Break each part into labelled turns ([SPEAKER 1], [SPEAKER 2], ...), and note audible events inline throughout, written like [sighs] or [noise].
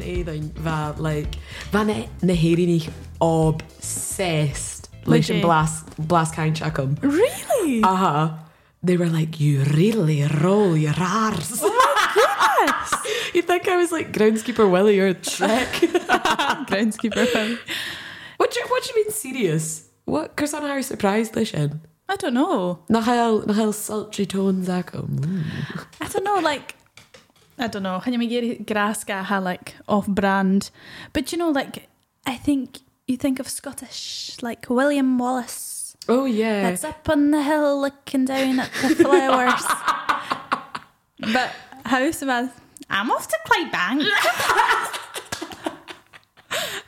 [SPEAKER 1] éin bheit le bhena nahéirí ob séist leis an
[SPEAKER 2] Legit.
[SPEAKER 1] blas blasáint a gom.
[SPEAKER 2] Really?
[SPEAKER 1] Aha, they were like, you really roll your arse. [laughs] you think I was like groundskeeper Willie or Trek?
[SPEAKER 2] Groundskeeper. Phil.
[SPEAKER 1] what do you, what do you mean serious? What Chris and I are surprised they shin.
[SPEAKER 2] [laughs] I don't know.
[SPEAKER 1] Nach how nach how sultry tones I come.
[SPEAKER 2] I don't know, like, I don't know. Hanya Megiri Graska ha like off brand. But you know, like, I think you think of Scottish, like William Wallace.
[SPEAKER 1] Oh yeah.
[SPEAKER 2] That's up on the hill looking down at the flowers. but House of Us, I'm off to play bank.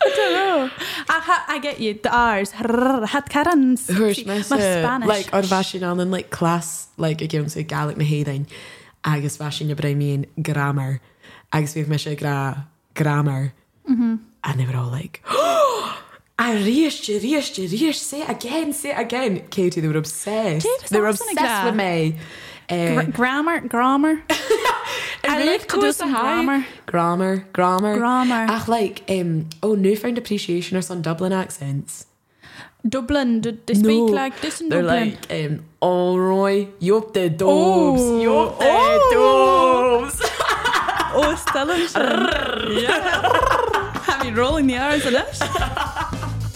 [SPEAKER 2] I don't know. I, ha- I get you. The R's. Had Karen's.
[SPEAKER 1] Thuairs
[SPEAKER 2] My
[SPEAKER 1] meise,
[SPEAKER 2] Spanish.
[SPEAKER 1] like ar bhaisiín an an like class like a gim sé galach na hédain agus bhaisiín na breimíon grammar agus bhíh me sé gra grammar
[SPEAKER 2] Mm-hmm.
[SPEAKER 1] an bhrá like [gasps] "Ah, a ríiste ríiste ríis sé again sé again Katie they were obsessed
[SPEAKER 2] Katie was
[SPEAKER 1] they were
[SPEAKER 2] obsessed with
[SPEAKER 1] obsessed with
[SPEAKER 2] gra.
[SPEAKER 1] me
[SPEAKER 2] Gr-
[SPEAKER 1] Um,
[SPEAKER 2] grammar, grammar. I
[SPEAKER 1] and
[SPEAKER 2] like
[SPEAKER 1] Ruth
[SPEAKER 2] to do
[SPEAKER 1] goes
[SPEAKER 2] some
[SPEAKER 1] high.
[SPEAKER 2] grammar.
[SPEAKER 1] grammar grammar
[SPEAKER 2] Grammar.
[SPEAKER 1] ach like um oh newfound appreciation or some Dublin accents
[SPEAKER 2] Dublin, do they speak like this in
[SPEAKER 1] they're
[SPEAKER 2] Dublin?
[SPEAKER 1] like, um, all right, you're the dogs,
[SPEAKER 2] Oh.
[SPEAKER 1] you're the
[SPEAKER 2] Oh.
[SPEAKER 1] dogs.
[SPEAKER 2] oh,
[SPEAKER 1] [laughs]
[SPEAKER 2] Stirlingshire. yeah. Have you rolling the R's in it?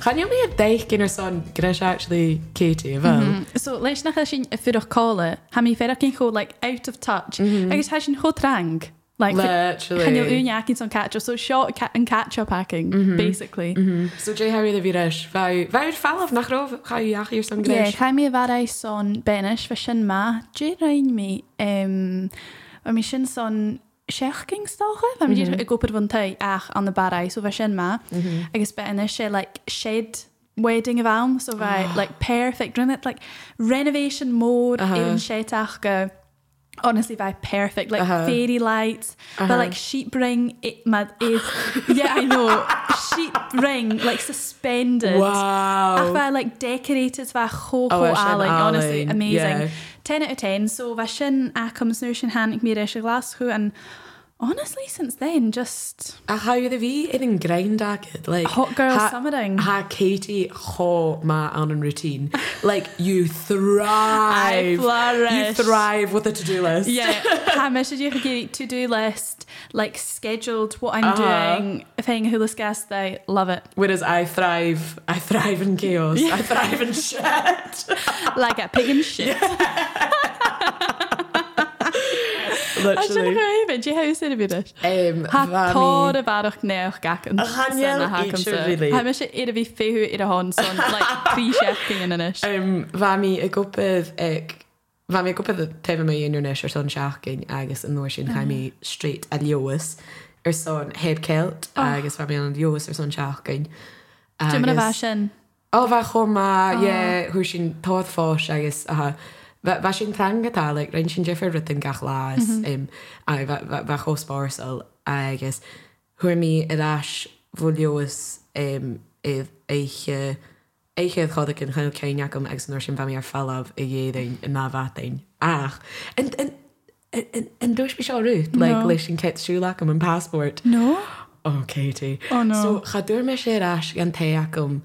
[SPEAKER 1] Can you be a dyke in her son, Grish actually, Katie, well? Mm-hmm.
[SPEAKER 2] So leis nach sin i fuach cála, ha mí féidir cin cho like out of touch,
[SPEAKER 1] Mm-hmm.
[SPEAKER 2] agus tá sin chotrang. Like,
[SPEAKER 1] Literally.
[SPEAKER 2] Chanil úneakin son catch up, so shot ca- and catch up hacking, mm-hmm. basically. Mm-hmm.
[SPEAKER 1] So Jay Harry the Virish, Vau, Vau Falov Nachrov, how you yach your son
[SPEAKER 2] Yeah,
[SPEAKER 1] Grish?
[SPEAKER 2] chai mi farai son benish fe sin ma, dje rhain mi, um, a mi sin son sech ging stocha, fe mi dje i gopad fan tai ach an y barai, so fe sin ma, agus benish e like shed wedding of alm, so fe like perfect, rhan it like renovation mode, uh-huh. even shed ach go, honestly by perfect like uh-huh. fairy lights uh-huh. but like sheep ring it mad is yeah i know [laughs] sheep ring like suspended Ach,
[SPEAKER 1] Wow.
[SPEAKER 2] fe, like decorated fe
[SPEAKER 1] Oh,
[SPEAKER 2] cho cho
[SPEAKER 1] a sin
[SPEAKER 2] Alan, honestly,
[SPEAKER 1] Alan,
[SPEAKER 2] amazing.
[SPEAKER 1] yeah.
[SPEAKER 2] Yeah. 10 out of 10, so fe sin acums nhw sin hanig mi reis y glasgow, and honestly, since then, just
[SPEAKER 1] A how you the V in and grind it like
[SPEAKER 2] Hot girl summering.
[SPEAKER 1] Ha Katie ho ma on and routine like
[SPEAKER 2] [laughs]
[SPEAKER 1] you thrive you
[SPEAKER 2] flourish.
[SPEAKER 1] thrive with a to do list
[SPEAKER 2] yeah, [laughs] ha meisiad i chi to-do list, like scheduled what I'm
[SPEAKER 1] Uh-huh.
[SPEAKER 2] uh-huh. doing, if hang hula sgas they love it.
[SPEAKER 1] Whereas I thrive, I thrive in chaos. I thrive in shit.
[SPEAKER 2] Like a pig in shit. [laughs] Yeah, I
[SPEAKER 1] [laughs]
[SPEAKER 2] don't
[SPEAKER 1] Literally.
[SPEAKER 2] know, but do you how you said about it?
[SPEAKER 1] Um,
[SPEAKER 2] Ha
[SPEAKER 1] Vami-
[SPEAKER 2] tóir a bharach neoch gacan
[SPEAKER 1] Chanel each really.
[SPEAKER 2] Ha me sé iad a bhí féú ar a hon son [laughs] like trí sefting in inis.
[SPEAKER 1] Um, Fami, y gwbydd ag... Fami, y gwbydd tef yma un o'n eisiau son siachgyn agos yn ddwyr sy'n cael mi straight a liowys yr son heb celt agos fami yn liowys yr son siachgyn.
[SPEAKER 2] Dwi'n mynd a fashion.
[SPEAKER 1] O, fa chwr ma, ie, hwyr sy'n todd ffos agos, aha. Fa fa sy'n thrang gyda, like, rhaid sy'n jeffer rydyn gach las, um, a fa- fa fa chos borsol, agos, hwyr mi yr as fwliwys um, idd eich eichydd chodig yn chael cain ac am agos yn o'r sy'n fam i ar falaf y ieddein yn na fatein. Ach, yn, yn, yn, yn, yn dwys bysio rwyt, like,
[SPEAKER 2] No.
[SPEAKER 1] leis sy'n cet siwlac am yn passport.
[SPEAKER 2] No?
[SPEAKER 1] Oh, Katie.
[SPEAKER 2] Oh, no.
[SPEAKER 1] So, chadwyr me sé ras gan te ac am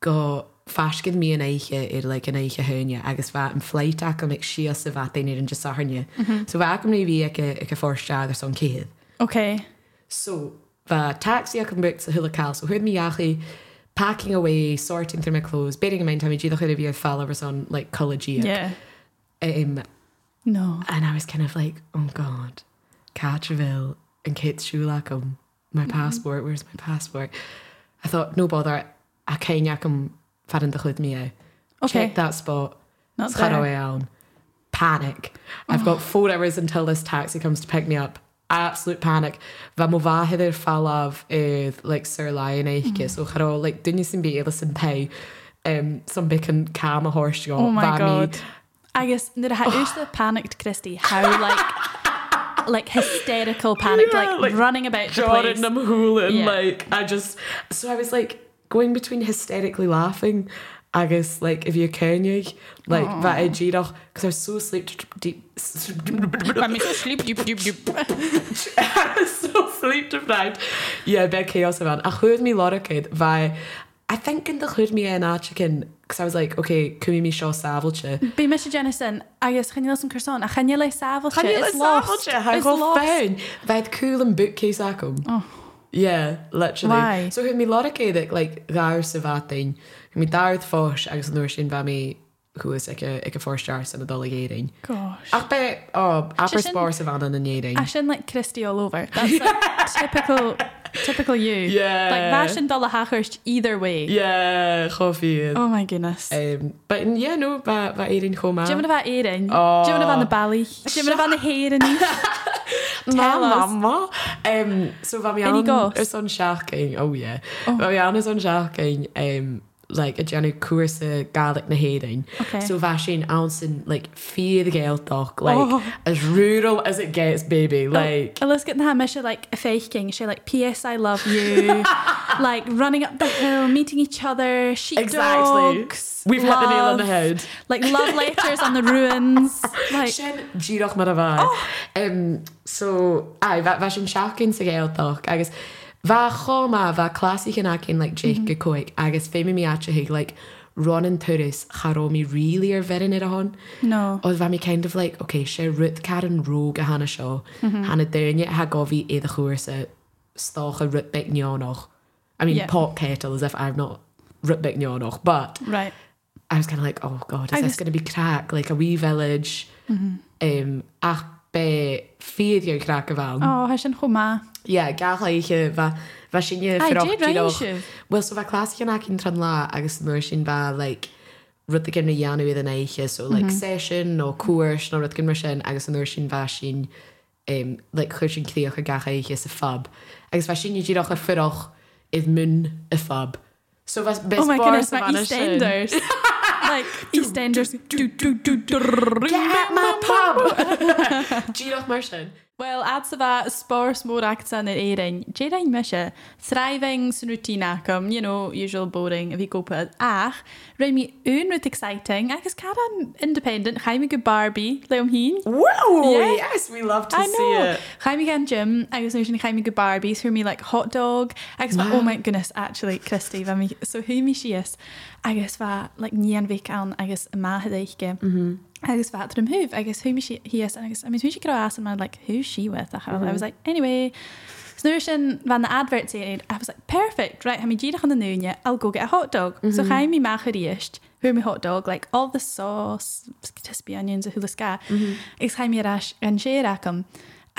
[SPEAKER 1] go ffasgyn mi yn eiche i'r like, yn eiche hynny agos fa yn ffleit ac am eich sia sy'n fath ein i'r yn jysa hynny.
[SPEAKER 2] Mhm.
[SPEAKER 1] So, fa ac am ni fi ac e- ac e fforsia agos o'n cydd.
[SPEAKER 2] Okay.
[SPEAKER 1] So, fa taxi ac am brick sy'n hwyl y cael. So, hwyd mi achu packing away, sorting through my clothes, bearing in mind how mi gyddoch i'r fi oedd ffal o'r son like college year.
[SPEAKER 2] Yeah.
[SPEAKER 1] Um,
[SPEAKER 2] No.
[SPEAKER 1] and I was kind of like, oh God, Catcherville and Kate Shulakum, my
[SPEAKER 2] Mm-hmm.
[SPEAKER 1] passport, where's my passport? I thought, no bother, I can yakum farin the hood me out.
[SPEAKER 2] Okay.
[SPEAKER 1] Check that spot.
[SPEAKER 2] Not
[SPEAKER 1] cut
[SPEAKER 2] there. Oh.
[SPEAKER 1] away on. Panic. I've got four hours until this taxi comes to pick me up. Absolute panic. Vamova hither falav with eh, like Sir Lion
[SPEAKER 2] Mm.
[SPEAKER 1] Eike. So charo like didn't you seem be able to pay um some bacon calm a horse you
[SPEAKER 2] Oh my god. Agus nid ha ús [sighs] the panicked Christy. How like like hysterical panic,
[SPEAKER 1] Yeah,
[SPEAKER 2] like,
[SPEAKER 1] like, [laughs]
[SPEAKER 2] running about the
[SPEAKER 1] Jordan
[SPEAKER 2] place.
[SPEAKER 1] and I'm hooling.
[SPEAKER 2] Yeah.
[SPEAKER 1] Like, I just, so I was like going between hysterically laughing agus like if you cenig like
[SPEAKER 2] Aw.
[SPEAKER 1] va e ddíoch cos ar so sleep deep
[SPEAKER 2] mé slíp dúb dúb dúb.
[SPEAKER 1] [laughs] so sleep deprived yeah be chaos around a chud mi lot kid va I think in the chud mi en a chicken because I was like okay cumi mi seo savilche
[SPEAKER 2] Bí me sé Jennison agus chenneil an cursán a chenneil lei sáfu
[SPEAKER 1] fein Bheit cool an bookcase acum
[SPEAKER 2] Oh.
[SPEAKER 1] Yeah, literally.
[SPEAKER 2] Why?
[SPEAKER 1] So hwn mi loricéidir like gáir sa bhatain, hwn mi dáird fós agus an nuair sin bha mi chuas ag a ag a fórstear san adola géiring. Ach be, oh, apar
[SPEAKER 2] sin-
[SPEAKER 1] spór sa bhana na
[SPEAKER 2] A
[SPEAKER 1] géiring.
[SPEAKER 2] sin like Christy all over. [laughs] That's like typical typical you.
[SPEAKER 1] Yeah.
[SPEAKER 2] Like bá sin dul a hachart either way.
[SPEAKER 1] Yeah, chofiad.
[SPEAKER 2] Oh my goodness.
[SPEAKER 1] Um, but in, yeah, no, ba, ba éirin chomá.
[SPEAKER 2] Jimmin a bheith éan,
[SPEAKER 1] Oh.
[SPEAKER 2] Jimmin a bheith na bailí, Jimmin a bheith na héan
[SPEAKER 1] Má
[SPEAKER 2] Tell us.
[SPEAKER 1] mama. Um, so bha mi
[SPEAKER 2] Any
[SPEAKER 1] an
[SPEAKER 2] ghosts?
[SPEAKER 1] is an seaaching, oh yeah. Bha mi an is an seaaching, um, like a genu cuasa gaelic na héiring.
[SPEAKER 2] Okay.
[SPEAKER 1] So bha sin an sin, like, fear the gael doc, like,
[SPEAKER 2] Oh.
[SPEAKER 1] as rural as it gets, baby. Like,
[SPEAKER 2] Ellis get na me like a fake king, she like PS I love [laughs] you, like running up the hill, meeting each other, sheep
[SPEAKER 1] Exactly.
[SPEAKER 2] dogs.
[SPEAKER 1] We've hit the nail on the head.
[SPEAKER 2] Like love letters on the [laughs] ruins, like
[SPEAKER 1] Sin ddíoch mar a bhain. So bheit sin seacinn sa ggéalach agus bhe chomá bheit cláí an acinn le dé go coig agus féimi mí áte hiig le run an turis charómí rilí ar verin ar a hon.
[SPEAKER 2] no.
[SPEAKER 1] Oedd fe mi kind of like, okay, sé rut car an rúg a hana seo, hana dairne ha gofi éad a chwyr sa stoch a rutbeck nionoch. I mean,
[SPEAKER 2] Yeah.
[SPEAKER 1] pot kettle as if I'm not rutbeck nionoch, but
[SPEAKER 2] Right.
[SPEAKER 1] I was kind of like, oh god, is
[SPEAKER 2] I Mm-hmm.
[SPEAKER 1] this
[SPEAKER 2] was-
[SPEAKER 1] going to be crack? Like a wee village. Um, ach be fear crack of all.
[SPEAKER 2] Oh, has an choma.
[SPEAKER 1] Yeah, gael eiche fa fa sin ie
[SPEAKER 2] Aye,
[SPEAKER 1] ffyrwch
[SPEAKER 2] did rain
[SPEAKER 1] diolch.
[SPEAKER 2] siw.
[SPEAKER 1] Wel, so fa clas chi'n ac yn tran la, agos nhw sin fa, like, rydw i gymryd ianw iddyn eiche, so, like,
[SPEAKER 2] Mm-hmm.
[SPEAKER 1] session, no cwrs, no rydw i gymryd sin, agos nhw sin fa sin, um, like, chwyr sin cdiwch a gach eiche sa fab. Agos fa sin i ddioch a ffyrwch idd mwn y fab. So, fa bes
[SPEAKER 2] Oh my goodness, my
[SPEAKER 1] fa fan y sin.
[SPEAKER 2] [laughs] EastEnders. like EastEnders. Do, do, do, do,
[SPEAKER 1] Get at my pub! [laughs] Ddioch mar sin.
[SPEAKER 2] Well, at that sparse more acts on it airing. Jada Misha, thriving sun routine acum, you know, usual boring if you go put ach, Remy own with exciting. I guess cara independent, Jaime good Barbie, Liam Heen.
[SPEAKER 1] Wow!
[SPEAKER 2] Yeah.
[SPEAKER 1] Yes, we love to
[SPEAKER 2] I
[SPEAKER 1] see
[SPEAKER 2] know.
[SPEAKER 1] it.
[SPEAKER 2] Jaime gan Jim, I was notion Jaime good Barbies for me like hot dog. I guess wow. oh
[SPEAKER 1] [gasps]
[SPEAKER 2] my goodness, actually, Christy, I mean, so who me she is. I guess that like Nian Vikan, I guess ma had mm-hmm. agus bheit an thuh agus thuimi si híos agus a mí si go as man like who's she with a chail I
[SPEAKER 1] Mm-hmm.
[SPEAKER 2] was like anyway snuir sin van na advert sé I was like perfect right ha mi ddíach an na núne I'll go get a hot dog so cha mi ma chuíist hu mi hot dog like all the sauce tispy onions a hula ska gus cha mi ras an sé acham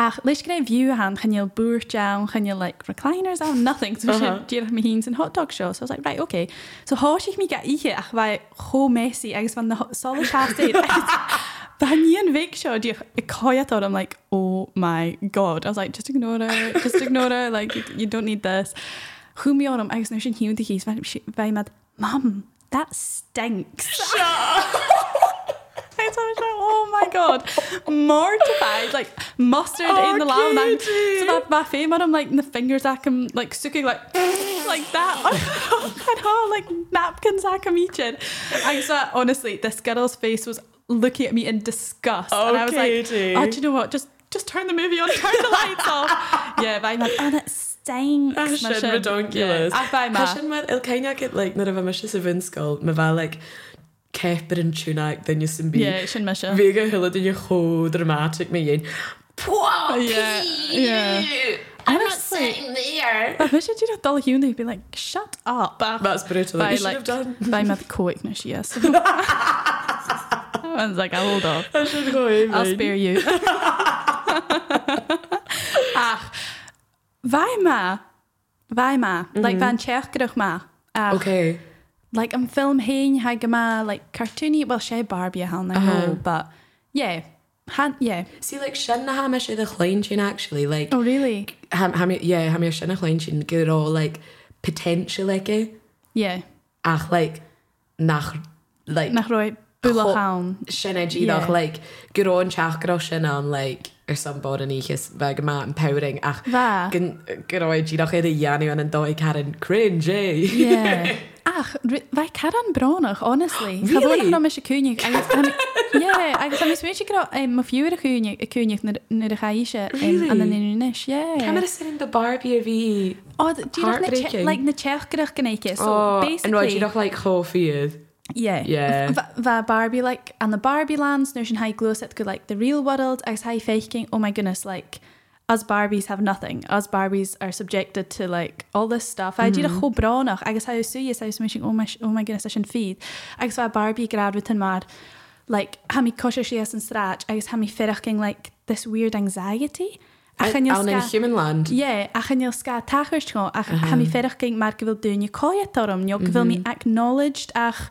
[SPEAKER 2] ach leis gnéim view han chail búr down chail like recliners am nothing so
[SPEAKER 1] Uh-huh.
[SPEAKER 2] uh-huh. díach mi híns an hot dog show so I was like right okay so há si mi ga ihe ach bheit cho messy agus van na sol chasté [laughs] But Ian Vickshaw, do you I thought I'm like, oh my god. I was like, just ignore her, just ignore her, like you, you don't need this. Who me on him, I was notion he the keys by mad Mum, that stinks. [laughs] I was like, oh my god. Mortified, like mustard
[SPEAKER 1] Oh,
[SPEAKER 2] in the lounge. and
[SPEAKER 1] Katie.
[SPEAKER 2] So that my fame on him like in the fingers I can like sucking like [laughs] like that I know, like napkins I can eating. I saw honestly this girl's face was looking at me in disgust. and I was like,
[SPEAKER 1] Okay,
[SPEAKER 2] oh,
[SPEAKER 1] Jade.
[SPEAKER 2] do you know what? Just just turn the movie on, turn the lights off. [laughs] Yeah, but I'm like, oh, that stinks.
[SPEAKER 1] Ah,
[SPEAKER 2] my
[SPEAKER 1] sin
[SPEAKER 2] shit."
[SPEAKER 1] redonkulous.
[SPEAKER 2] Yeah, I buy
[SPEAKER 1] Tá
[SPEAKER 2] my.
[SPEAKER 1] sin mar il caiineach it like nar a bheith me is a bhinscoil me bheith like ceir an túnaach daine sin bí
[SPEAKER 2] Yeah, sin mission.
[SPEAKER 1] bhé go thuile duine cho dramatic mé dhéon
[SPEAKER 2] Yeah, yeah. Honestly. But we should do that dull human who'd be like, shut up.
[SPEAKER 1] That's brutal like, you
[SPEAKER 2] by
[SPEAKER 1] should have
[SPEAKER 2] like
[SPEAKER 1] [laughs] done
[SPEAKER 2] by my coicness,
[SPEAKER 1] [laughs]
[SPEAKER 2] yes. I was like, I hold up.
[SPEAKER 1] I should go in
[SPEAKER 2] I'll spare you. [laughs] Ach, vai Ah. ma, vai ma, like van Cherkirch ma. Ach,
[SPEAKER 1] okay
[SPEAKER 2] Like I'm film hein ha gama like cartoony well she Barbie hell no uh-huh. but yeah han yeah
[SPEAKER 1] see like sin na ha me sé de chléin sin actually like
[SPEAKER 2] oh really
[SPEAKER 1] ha ha mi yeah ha mi sin na chléin sin go rá like potential like
[SPEAKER 2] yeah
[SPEAKER 1] ach like nach like
[SPEAKER 2] nach roi bula
[SPEAKER 1] Cho-
[SPEAKER 2] hawn
[SPEAKER 1] sinna ddíach
[SPEAKER 2] Yeah.
[SPEAKER 1] le gurrá an teachrá sin an le ar san bod an íchas bheit go má an powering ach
[SPEAKER 2] Va.
[SPEAKER 1] gurráid ddíach ar a dhéanú an an dóid car an cringe eh? é
[SPEAKER 2] [laughs] yeah Oh, a [laughs] ach ri- bheith car an bránach honestly Tá
[SPEAKER 1] Really?
[SPEAKER 2] bhfuil ná me se cúnig [laughs] agus mis mé go má fiúr a cúnig a cúnig nu a chaise
[SPEAKER 1] Really?
[SPEAKER 2] an inúis
[SPEAKER 1] Camera sitting the Barbie of E.
[SPEAKER 2] Oh,
[SPEAKER 1] heartbreaking.
[SPEAKER 2] le na teachgrach gannéice so
[SPEAKER 1] Oh, and right, you
[SPEAKER 2] basically
[SPEAKER 1] look like Hofiad. Yeah.
[SPEAKER 2] yeah va Barbie like and the Barbie lands notion high glow set good like the real world as high faking oh my goodness like as Barbies have nothing as Barbies are subjected to like all this stuff I did a
[SPEAKER 1] Mm-hmm.
[SPEAKER 2] whole bronach I guess how sue yes I was mentioning oh my sh- oh my goodness I shouldn't feed I guess why Barbie grad with mad like how me kosher she has and stretch I guess how me ferking like this weird anxiety I can
[SPEAKER 1] Alan in human land.
[SPEAKER 2] Ié, a chanil sca tacht go ach ha mi ferch ging mar go bhfuil dúne cóiad tarm, Jo go bhfuil mi acknowledged ach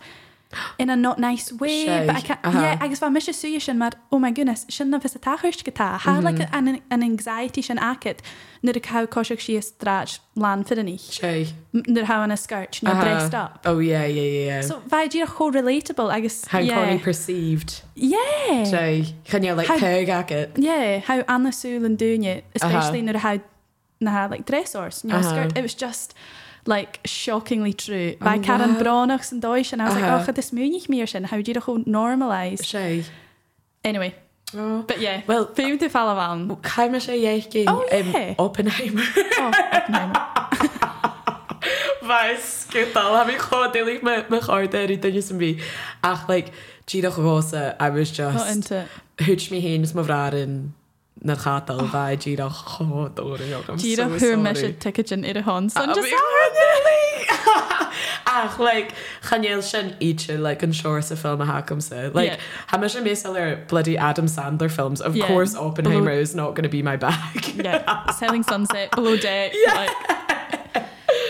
[SPEAKER 2] in a not nice way
[SPEAKER 1] Sure,
[SPEAKER 2] but I can't-
[SPEAKER 1] uh-huh.
[SPEAKER 2] yeah, agus bá mis suúe sin mar oh ó me gunnas sin na fis a tacht gotá há le an an anxiety sin acid nu a cha cóiseach si is stráid lá finí
[SPEAKER 1] Shay.
[SPEAKER 2] nu ha an a skirt nó
[SPEAKER 1] Uh-huh.
[SPEAKER 2] dressed up.
[SPEAKER 1] Oh, yeah, yeah, yeah. yeah.
[SPEAKER 2] So bheit dí a cho relatable agus
[SPEAKER 1] How yeah. Connie
[SPEAKER 2] yeah.
[SPEAKER 1] perceived.
[SPEAKER 2] yeah.
[SPEAKER 1] Shay. Can you like
[SPEAKER 2] How-
[SPEAKER 1] peg at it?
[SPEAKER 2] Yeah, how Anna Sewell and Dunya, especially uh-huh. how na like dress horse, you know,
[SPEAKER 1] Uh-huh.
[SPEAKER 2] uh-huh. skirt. It was just like shockingly true. By oh, Karen wow. Branagh and Deutsch, and I was uh-huh.
[SPEAKER 1] Uh-huh.
[SPEAKER 2] like, oh, this moonich meer sin. How do you whole normalize?
[SPEAKER 1] Shay.
[SPEAKER 2] Anyway,
[SPEAKER 1] Oh.
[SPEAKER 2] but yeah,
[SPEAKER 1] Well,
[SPEAKER 2] food to follow on.
[SPEAKER 1] Caimime sé dhéici
[SPEAKER 2] Oh, yeah.
[SPEAKER 1] Oppenheimer [laughs]
[SPEAKER 2] [laughs] Oh, no.
[SPEAKER 1] Bheiscétal ha chó déala me chuirdaí duine san bhí ach le tíadach bhsa a was
[SPEAKER 2] not
[SPEAKER 1] just
[SPEAKER 2] into.
[SPEAKER 1] thuit mí héanas má bhráin na chatal
[SPEAKER 2] Oh.
[SPEAKER 1] bheit díach
[SPEAKER 2] Do you know who measured ticket in Irahon? So just
[SPEAKER 1] [laughs] ach like chanéal sin ite like an seir sa film a hacham sa like
[SPEAKER 2] Yeah.
[SPEAKER 1] ha me sin mésal ar bloody Adam Sandler films of
[SPEAKER 2] Yeah.
[SPEAKER 1] course Oppenheimer is not going to be my bag
[SPEAKER 2] [laughs] yeah, selling sunset below deck. [laughs] Yeah. Like,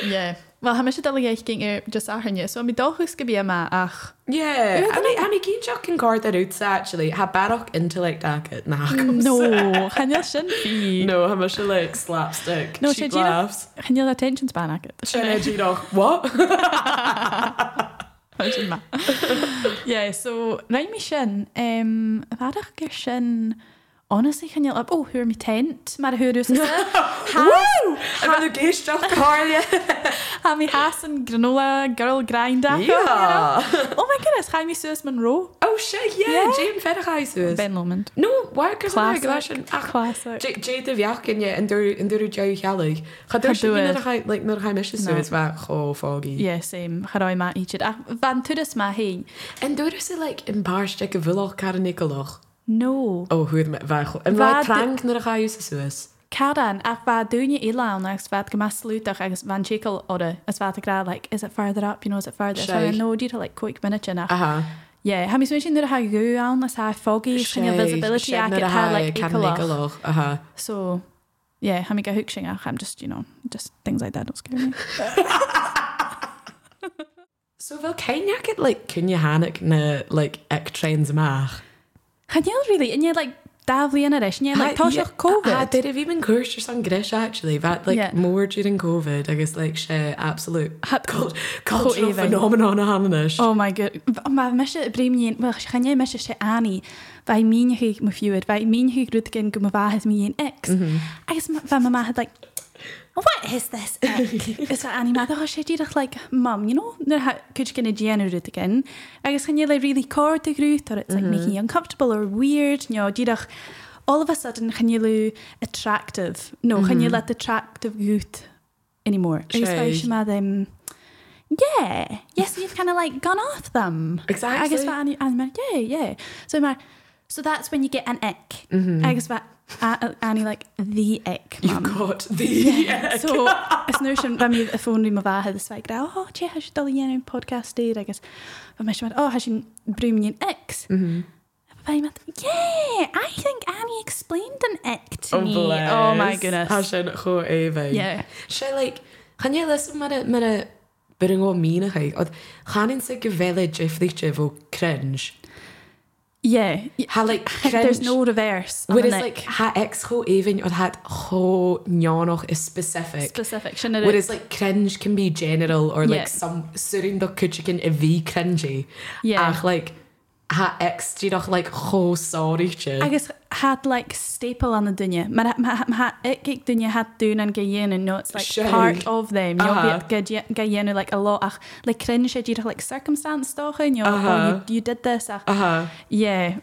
[SPEAKER 2] yeah. Wel, ha mis y dyliau ging i'r just ar hynny. So, mi dochwys gyda yma ach...
[SPEAKER 1] Yeah, I mean, I mean, can you can guard that out actually? Have baroque intellect acket na.
[SPEAKER 2] Hmm. [laughs] No, chanel sin fi.
[SPEAKER 1] no, how much like slapstick?
[SPEAKER 2] No,
[SPEAKER 1] she
[SPEAKER 2] should you not-
[SPEAKER 1] laughs.
[SPEAKER 2] [laughs] Chanel attention span agat.
[SPEAKER 1] Should you know what?
[SPEAKER 2] Sin ma. Yeah, so rhaid mi sin, um, farach gyr sin, honestly chanel up, oh, hwyr mi tent, mae'r hwyr yw'r
[SPEAKER 1] [laughs] Woo! I'm the gay
[SPEAKER 2] [laughs]
[SPEAKER 1] stuff Carly.
[SPEAKER 2] Ha mi has yn granola girl grind ac.
[SPEAKER 1] Yeah.
[SPEAKER 2] Oh my goodness, chai mi Suez Monroe.
[SPEAKER 1] Oh shit, yeah.
[SPEAKER 2] Yeah.
[SPEAKER 1] Jane Ferraisus.
[SPEAKER 2] Ben Lomond.
[SPEAKER 1] No, why cuz I gosh
[SPEAKER 2] Classic.
[SPEAKER 1] and
[SPEAKER 2] Classic.
[SPEAKER 1] Ah, Jade the Yakin yeah and do and do Joe Kelly. Had there
[SPEAKER 2] Ga
[SPEAKER 1] should
[SPEAKER 2] doen.
[SPEAKER 1] not like not how much so
[SPEAKER 2] No.
[SPEAKER 1] it's about oh foggy.
[SPEAKER 2] Yeah, same. Charoi ma i chyd. Ach, fan tŵdus ma hi.
[SPEAKER 1] And do is like embarrassed like a vlog Karnikolog.
[SPEAKER 2] No.
[SPEAKER 1] Oh, hoe het me weg. En
[SPEAKER 2] Waar
[SPEAKER 1] wat
[SPEAKER 2] de-
[SPEAKER 1] drank naar ga je zus.
[SPEAKER 2] Caran, ach fa dúne ilan agus fa go mas slúteach agus van chical ora as fa gra like is it further up you know is it further so I
[SPEAKER 1] Sure.
[SPEAKER 2] know due to like quick minute in ach
[SPEAKER 1] Aha.
[SPEAKER 2] yeah ha mi swn sin ha go an as ha foggy sin your visibility ac it ha like ical [laughs]
[SPEAKER 1] Aha.
[SPEAKER 2] so yeah ha mi go hooking ach I'm just you know just things like that don't scare me
[SPEAKER 1] So fel cain ac it like cyn ihanach na like ec trains mach.
[SPEAKER 2] Chan iawn really and you're like daflu yn yr ish and you're like tosach
[SPEAKER 1] Ah,
[SPEAKER 2] covid
[SPEAKER 1] did have even cursed your son Grish actually that like
[SPEAKER 2] Yeah.
[SPEAKER 1] more during COVID I guess like share
[SPEAKER 2] [laughs]
[SPEAKER 1] absolute
[SPEAKER 2] Hap-
[SPEAKER 1] cult, cultural
[SPEAKER 2] even.
[SPEAKER 1] phenomenon a hannish.
[SPEAKER 2] Oh my god. Mae mysio y brym ni'n... Wel, chan i'n mysio se ani. Fai mi'n chi mwy ffiwyr. Fai mi'n chi grwyd gen gwmw fahys mi'n ex. Ac fai mae ma had like... What is this ick? Is that Annie Mather? Oh, she did it like, Mum, you know, no, how could you get a Gianna route again? I guess can you like really cord the route or it's like making you uncomfortable or weird? "Oh, You know, did it all of a sudden can you lo attractive? No, can
[SPEAKER 1] Mm-hmm.
[SPEAKER 2] you let attractive youth anymore? I guess
[SPEAKER 1] Shay.
[SPEAKER 2] by Shema them. Yeah, yes, you've kind of like gone off them. I
[SPEAKER 1] Exactly.
[SPEAKER 2] guess by Annie, Annie Mather, yeah, yeah. So my, so that's when you get an ick. I guess by A- Annie like the ick.
[SPEAKER 1] Mm-hmm. You've
[SPEAKER 2] mum.
[SPEAKER 1] Mm. got the ec. [laughs]
[SPEAKER 2] So is nu sin bam a fónú a bhethe is feag ra te he sé dal dhéanú podcasté agus ba me mar á he sin brúmíon ex. Bhí me "Yeah, I think Annie explained an ick to me." Oh my goodness.
[SPEAKER 1] Hashin go even.
[SPEAKER 2] Yeah.
[SPEAKER 1] She like gaan jy lus met 'n met 'n bring on menigheid. Of gaan in sy gewelle Jeffrey Chevo cringe.
[SPEAKER 2] Yeah.
[SPEAKER 1] Ha like
[SPEAKER 2] [laughs] There's
[SPEAKER 1] cringe.
[SPEAKER 2] no reverse. on
[SPEAKER 1] Where
[SPEAKER 2] an
[SPEAKER 1] is like
[SPEAKER 2] ick.
[SPEAKER 1] ha ex go even or hat ho nyanoch is specific.
[SPEAKER 2] specific sin it is.
[SPEAKER 1] Whereas like cringe can be general or like
[SPEAKER 2] Yeah.
[SPEAKER 1] some surin the kuchikin a v cringy.
[SPEAKER 2] Yeah.
[SPEAKER 1] Ach like ha extíach le chósáíte.
[SPEAKER 2] agus had like staple an a dunne maar ha- ma- ha ik dunne het doen en gehéen en notes like
[SPEAKER 1] Sure.
[SPEAKER 2] part of them
[SPEAKER 1] Uh-huh.
[SPEAKER 2] gehéen like a lot ach like cringe het hier like circumstance toch en
[SPEAKER 1] Uh-huh.
[SPEAKER 2] "Oh, you you did this ach
[SPEAKER 1] Aha.
[SPEAKER 2] yeah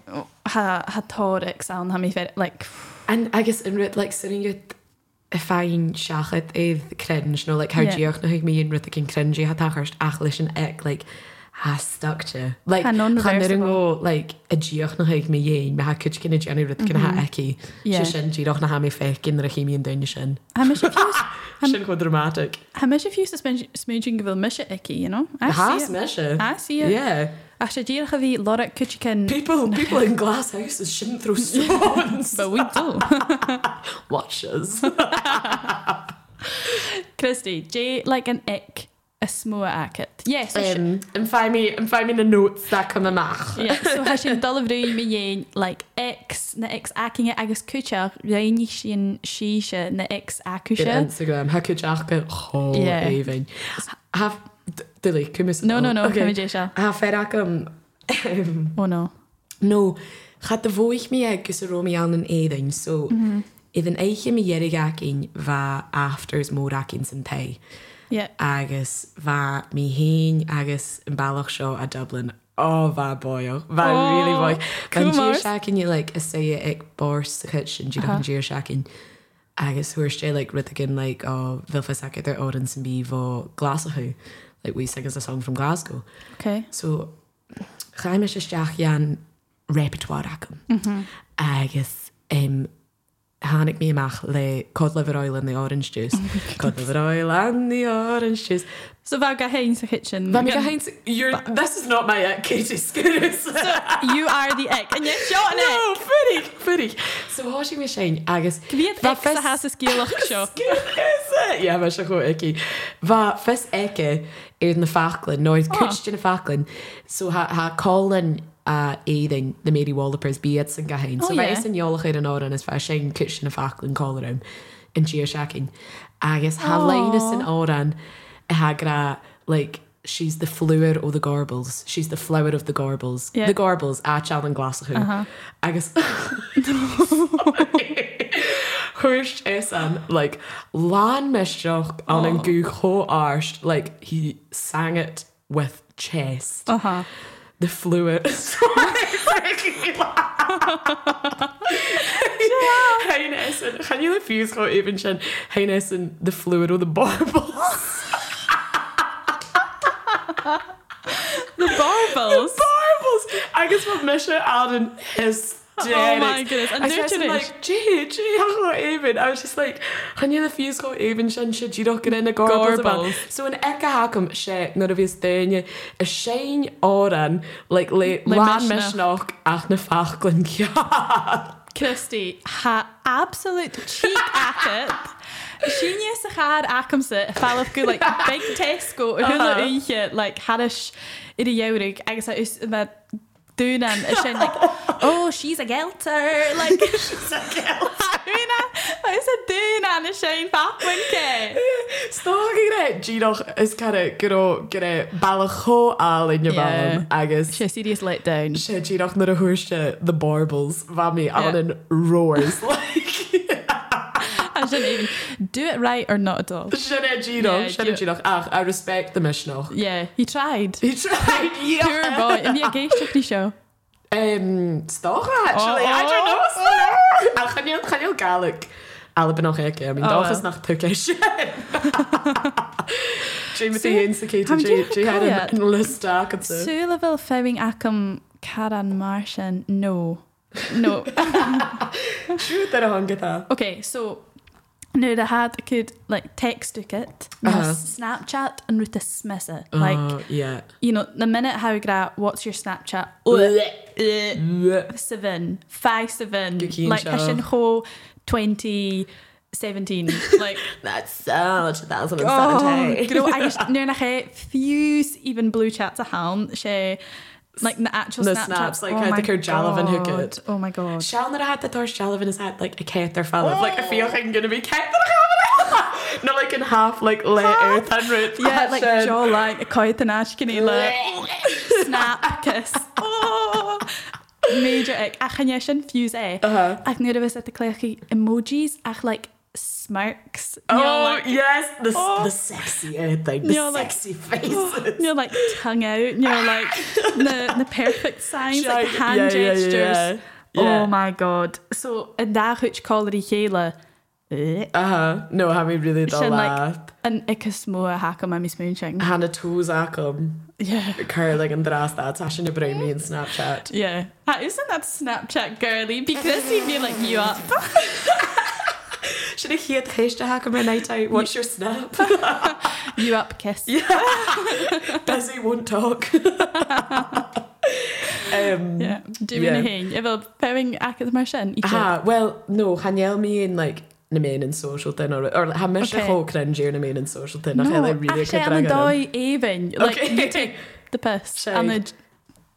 [SPEAKER 2] ha ha tóric an ha mi fe like [sighs]
[SPEAKER 1] And agus in rit like sinning you a fein seachad éiad cringe nó like how
[SPEAKER 2] Yeah.
[SPEAKER 1] dioch na míon ru cin cringe hat achart ach leis an ec like ha stuckte like
[SPEAKER 2] Ah, non
[SPEAKER 1] go like a dioch na haig mé dhéin me ha cid cinna déanú ru cin ha eici
[SPEAKER 2] Mm-hmm. Yeah.
[SPEAKER 1] sé sin dioch na ha mé feh cin a chéíon daine sin
[SPEAKER 2] ha mis
[SPEAKER 1] sin go dramatic
[SPEAKER 2] ha mis if you smooching go mis icky you know I
[SPEAKER 1] ha
[SPEAKER 2] see it.
[SPEAKER 1] me
[SPEAKER 2] I see it
[SPEAKER 1] yeah
[SPEAKER 2] ach sé ddíach a bhí lora kuchiken [laughs]
[SPEAKER 1] people people in glass houses shouldn't throw stones
[SPEAKER 2] but we
[SPEAKER 1] [laughs]
[SPEAKER 2] do
[SPEAKER 1] watches
[SPEAKER 2] Christy J like an ick a smó aket yes so [laughs] she-
[SPEAKER 1] um, yn ffaen mi yn ffaen mi na notes da cym ymach
[SPEAKER 2] Yeah, so has sin dohrí mé dhéin le ex na ex acinge agus cúteach réí sin síise na ex
[SPEAKER 1] Gyda
[SPEAKER 2] acuise.
[SPEAKER 1] Instagram ha cydach gan ho
[SPEAKER 2] Ie.
[SPEAKER 1] even ha dyli cymis
[SPEAKER 2] No no no
[SPEAKER 1] Okay.
[SPEAKER 2] chué se
[SPEAKER 1] ha fer ac [laughs] um
[SPEAKER 2] ó nó.
[SPEAKER 1] no cha dy fwy'ch mi egys y romi an yn eidyn so
[SPEAKER 2] Mhm.
[SPEAKER 1] iddyn eich mi ierig ac un fa afters môr ac un sy'n tei
[SPEAKER 2] Yeah.
[SPEAKER 1] agus fa mi hyn agus yn balach sio a Dublin O, fa boio. Fa
[SPEAKER 2] O,
[SPEAKER 1] really boio. Gan
[SPEAKER 2] cwmars.
[SPEAKER 1] gyr siac yn i, like, ysaia ag bors chytsin, dwi'n uh -huh. gyr siac yn agus thuair sé le rithgan le á bhilfa aice ar áan san bí bh glasathú le bhí agus a song from Glasgow.
[SPEAKER 2] Okay.
[SPEAKER 1] So chaime sé steach an repertoire acham agus um, hánig mí amach le cod leharáil an na orange juice Cod leharáil an na orange juice.
[SPEAKER 2] So bha ga hain sa kitchen.
[SPEAKER 1] Ba mi go haint you're- this is not my uh, Katie Scooters.
[SPEAKER 2] [laughs] You are the ick an seo an
[SPEAKER 1] [laughs]
[SPEAKER 2] ick.
[SPEAKER 1] No, funny, funny. So háisi mé sin agus
[SPEAKER 2] Bhí
[SPEAKER 1] Ba
[SPEAKER 2] ick
[SPEAKER 1] fis-
[SPEAKER 2] a has a scíach
[SPEAKER 1] [laughs]
[SPEAKER 2] seo.
[SPEAKER 1] Ja me se go ekki. Wa fis eke er na Falkland nooit kutcht in de Falkland. So ha ha Colin uh, éing de Mary Wallopers beat san gahain. So
[SPEAKER 2] O,
[SPEAKER 1] mei
[SPEAKER 2] ie.
[SPEAKER 1] an joligheid an áan is ver sé kutcht in de Falkland Colm in geoshacking. Agus ha
[SPEAKER 2] Aw.
[SPEAKER 1] leinas an áan ha gra like She's the flower o the garbles. She's the flower of the garbles.
[SPEAKER 2] Ie.
[SPEAKER 1] The garbles a chan an glasachú. Uh -huh. [laughs] Agus Hurst is an like Lan Mishroch on an goog ho arsht like he sang it with chest.
[SPEAKER 2] Aha.
[SPEAKER 1] The fluid [laughs] Can you refuse go even sin Heiness and the fluid or the barbels?
[SPEAKER 2] The barbels.
[SPEAKER 1] [laughs] Barbels! I guess what Misha Alden is
[SPEAKER 2] Oh my goodness. And
[SPEAKER 1] I said to him,
[SPEAKER 2] nutrition.
[SPEAKER 1] like, gee, gee, [laughs] how got even? I was just like, can you refuse go even sin si ddíoch gan ina
[SPEAKER 2] Gorbals.
[SPEAKER 1] gorbals So an eca hacam sé nar a bhís daine a séin áran like, le
[SPEAKER 2] Le
[SPEAKER 1] lán
[SPEAKER 2] Misneach.
[SPEAKER 1] misnach ach na fachglan cean.
[SPEAKER 2] Christy ha absolute cheek [laughs] at it. She knew a hard akamsa fall of [laughs] good like big Tesco hula
[SPEAKER 1] Uh-huh.
[SPEAKER 2] uche like harish in a yaurig. I guess I was about doing and it's saying [laughs] like oh she's a gelter like [laughs] she's a gelter. [laughs] I said doing and it's saying back when care.
[SPEAKER 1] [laughs] Stáí ré ddíoch is cara go gur bailach cho áil in
[SPEAKER 2] Yeah.
[SPEAKER 1] bham agus
[SPEAKER 2] She's a serious letdown.
[SPEAKER 1] sé ddíoch nar a thuiste the barbels bha mi an
[SPEAKER 2] Yeah.
[SPEAKER 1] an
[SPEAKER 2] [laughs]
[SPEAKER 1] roars like
[SPEAKER 2] I shouldn't even do it right or not at all.
[SPEAKER 1] Sinna
[SPEAKER 2] Yeah,
[SPEAKER 1] ddíoch sinna
[SPEAKER 2] dí-
[SPEAKER 1] ddíoch ach I respect the misnach.
[SPEAKER 2] Yeah, he [laughs] tried.
[SPEAKER 1] He tried,
[SPEAKER 2] Pure
[SPEAKER 1] yeah.
[SPEAKER 2] boy. And yeah, gay strictly show.
[SPEAKER 1] Um, stoch actually.
[SPEAKER 2] Oh,
[SPEAKER 1] I don't know.
[SPEAKER 2] oh,
[SPEAKER 1] [laughs] Oh, oh. Ach, chanil, chanil Gaelic. Alba noch eke. I mean,
[SPEAKER 2] Oh,
[SPEAKER 1] doch
[SPEAKER 2] well.
[SPEAKER 1] is nach Turkish.
[SPEAKER 2] [laughs]
[SPEAKER 1] James the
[SPEAKER 2] Haven't you
[SPEAKER 1] Instigator.
[SPEAKER 2] heard
[SPEAKER 1] She had
[SPEAKER 2] Gaelic?
[SPEAKER 1] a list dark and so.
[SPEAKER 2] Súlavel fewing acum Karan Martian. No. No.
[SPEAKER 1] Shoot that a hungata.
[SPEAKER 2] okay, so nu det här could like text it,
[SPEAKER 1] Uh-huh.
[SPEAKER 2] uh-huh. Snapchat and ruta smissa. Like,
[SPEAKER 1] Uh, [laughs] yeah.
[SPEAKER 2] you know, the minute how gra what's your Snapchat? [laughs] Uh, seven, five seven,
[SPEAKER 1] Cookie and
[SPEAKER 2] like
[SPEAKER 1] Shell.
[SPEAKER 2] Hashin Ho twenty seventeen. Like
[SPEAKER 1] That's so 2017.
[SPEAKER 2] Oh, Gro agus nu nach ché fiús even blue chat a há sé like na actual
[SPEAKER 1] The
[SPEAKER 2] Snapchat. Oh
[SPEAKER 1] snaps, like, how
[SPEAKER 2] my
[SPEAKER 1] they could Jalavan hook
[SPEAKER 2] God.
[SPEAKER 1] it.
[SPEAKER 2] Oh my god.
[SPEAKER 1] Shall not have the Thor Shalvin is had like a cat or fellow. Like I feel like I'm gonna be cat [laughs] Not like in half like let earth and root.
[SPEAKER 2] Yeah,
[SPEAKER 1] [laughs]
[SPEAKER 2] like jaw like a coit and ash can like snap kiss. Oh, méidir ag achanne sin fiús é eh?
[SPEAKER 1] Uh-huh.
[SPEAKER 2] ach nuair a bheits a cléchi emojis ach like smirks
[SPEAKER 1] Oh, [laughs]
[SPEAKER 2] you know, like-
[SPEAKER 1] yes, the,
[SPEAKER 2] Oh.
[SPEAKER 1] the sexy air thing, the
[SPEAKER 2] You're like-
[SPEAKER 1] sexy [laughs] faces.
[SPEAKER 2] you know, like tongue out, you
[SPEAKER 1] [laughs]
[SPEAKER 2] know, like the, the perfect signs, like the
[SPEAKER 1] Sure,
[SPEAKER 2] hand
[SPEAKER 1] yeah, yeah,
[SPEAKER 2] gestures.
[SPEAKER 1] yeah, yeah.
[SPEAKER 2] Oh my god. So in that which called it Hela. eh,
[SPEAKER 1] Uh huh. No, have we really done
[SPEAKER 2] Sin like
[SPEAKER 1] that?
[SPEAKER 2] an ikasmoa haka mami smooching.
[SPEAKER 1] Hannah um, toes acum,
[SPEAKER 2] Yeah.
[SPEAKER 1] curling and drast that, Tasha Brown me in Snapchat.
[SPEAKER 2] Yeah. Ah, Isn't that Snapchat girly? Because he'd be like you up.
[SPEAKER 1] Should I hear the haste to hack on my night out? What's your snap?
[SPEAKER 2] You up kiss. Yeah.
[SPEAKER 1] Busy won't
[SPEAKER 2] [laughs]
[SPEAKER 1] talk. um,
[SPEAKER 2] yeah. Do
[SPEAKER 1] Yeah.
[SPEAKER 2] yeah. anything. If a pairing akas marshin.
[SPEAKER 1] Ah, well, no, Haniel me in like na main and social thing or or like, ha mis a
[SPEAKER 2] Okay.
[SPEAKER 1] whole cringe na main and social thing. I feel like really
[SPEAKER 2] actually,
[SPEAKER 1] could
[SPEAKER 2] I'm a
[SPEAKER 1] drag it in.
[SPEAKER 2] die even. Like
[SPEAKER 1] Okay.
[SPEAKER 2] you take the piss
[SPEAKER 1] Shade.
[SPEAKER 2] and the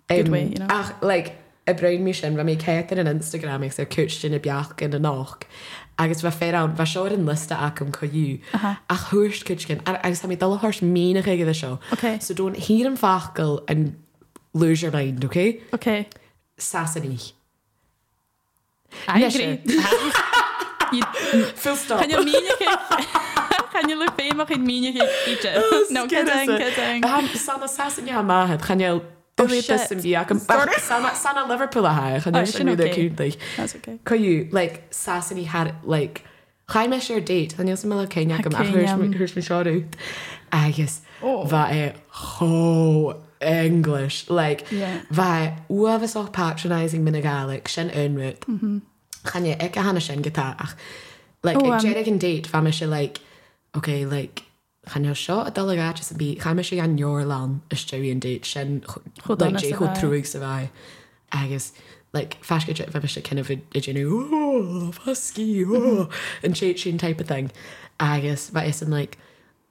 [SPEAKER 2] good way, you know.
[SPEAKER 1] Um, Ach, like, y brain mi sin, fe mi ceitin yn Instagram ac sef cwtsh yn y biach yn y noch. Agus fe fer awn, fe siwr yn lysta ac yn coiw. Ach hwyrst cwtsh gyn. Agus fe mi dyl hwyrst mi'n eich gyda sio.
[SPEAKER 2] Okay.
[SPEAKER 1] So don't hear yn ffachgol and lose your mind, okay?
[SPEAKER 2] Okay.
[SPEAKER 1] Sas yn ich.
[SPEAKER 2] I
[SPEAKER 1] Yes,
[SPEAKER 2] agree. [laughs]
[SPEAKER 1] Full stop.
[SPEAKER 2] Kan je minigen? [laughs] Kan je lefé mag in minigen eten? [laughs] Nou, kidding, kidding.
[SPEAKER 1] Um, sana sas yn ia ma hyd. Chan iael,
[SPEAKER 2] Oh,
[SPEAKER 1] Ysys yn
[SPEAKER 2] shit.
[SPEAKER 1] biach.
[SPEAKER 2] Sorry.
[SPEAKER 1] Sana sana Liverpool a hae. Chan
[SPEAKER 2] Oh,
[SPEAKER 1] iael
[SPEAKER 2] sin
[SPEAKER 1] sy'n rwy'n
[SPEAKER 2] okay.
[SPEAKER 1] cwntig.
[SPEAKER 2] That's okay.
[SPEAKER 1] Coiú like sasan í had like chaim meis ar date an sem le céine go
[SPEAKER 2] Céine.
[SPEAKER 1] thuirs me Ah, seáút agus
[SPEAKER 2] Oh.
[SPEAKER 1] bha é cho English like
[SPEAKER 2] Yeah.
[SPEAKER 1] bha uahas ó patronising mina gaach sin unrút chane ag a hanna sin gotá ach like
[SPEAKER 2] Mm-hmm. Oh,
[SPEAKER 1] ag
[SPEAKER 2] um,
[SPEAKER 1] déad an date fa me se like okay like Chanel seo a dalgá a bí chaime sé an jóor lan Australian date sin
[SPEAKER 2] Chud anna
[SPEAKER 1] dé
[SPEAKER 2] sa
[SPEAKER 1] chu
[SPEAKER 2] bheith.
[SPEAKER 1] trúig sa bheith agus like fasca jet fe se kind of a genu "Oh, husky oh,"
[SPEAKER 2] Mm-hmm.
[SPEAKER 1] and chin type of thing agus but it's in like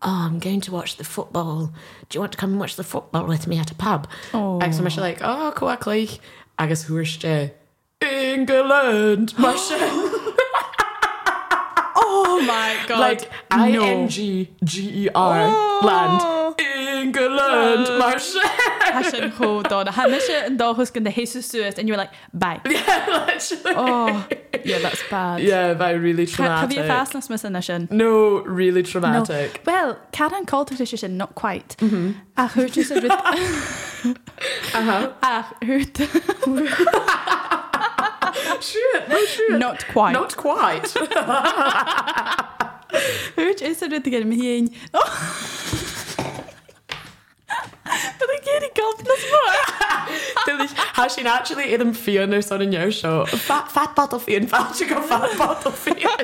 [SPEAKER 1] oh I'm going to watch the football do you want to come and watch the football with me at a pub
[SPEAKER 2] Oh.
[SPEAKER 1] agus mar se like oh coach like agus huairste
[SPEAKER 2] [gasps]
[SPEAKER 1] England mar se
[SPEAKER 2] Oh my god.
[SPEAKER 1] like I N G G E R land England mar [laughs] se
[SPEAKER 2] Hasn't hold on. Hamisha and Dahus going to Jesus Suez and you were like,
[SPEAKER 1] [laughs]
[SPEAKER 2] bye. Oh, yeah, that's bad.
[SPEAKER 1] yeah Mm-hmm. by really
[SPEAKER 2] Ha- Have
[SPEAKER 1] traumatic
[SPEAKER 2] you fastness missing mission?
[SPEAKER 1] no really
[SPEAKER 2] No.
[SPEAKER 1] traumatic
[SPEAKER 2] Well, Karen called her sister, not quite. Ach, who just said with.
[SPEAKER 1] Mm-hmm. [laughs] Uh-huh.
[SPEAKER 2] Ach, who. Oh,
[SPEAKER 1] Sure, no, sure.
[SPEAKER 2] [laughs] Not quite.
[SPEAKER 1] Not
[SPEAKER 2] [laughs]
[SPEAKER 1] quite. [laughs]
[SPEAKER 2] Hurt is er te gaan [laughs] heen. Oh. Dat ik hier die kant nog maar.
[SPEAKER 1] Has she actually in them fear no son in your show? Fat fat bottle fear and fat chicken
[SPEAKER 2] [laughs]
[SPEAKER 1] fat bottle fear.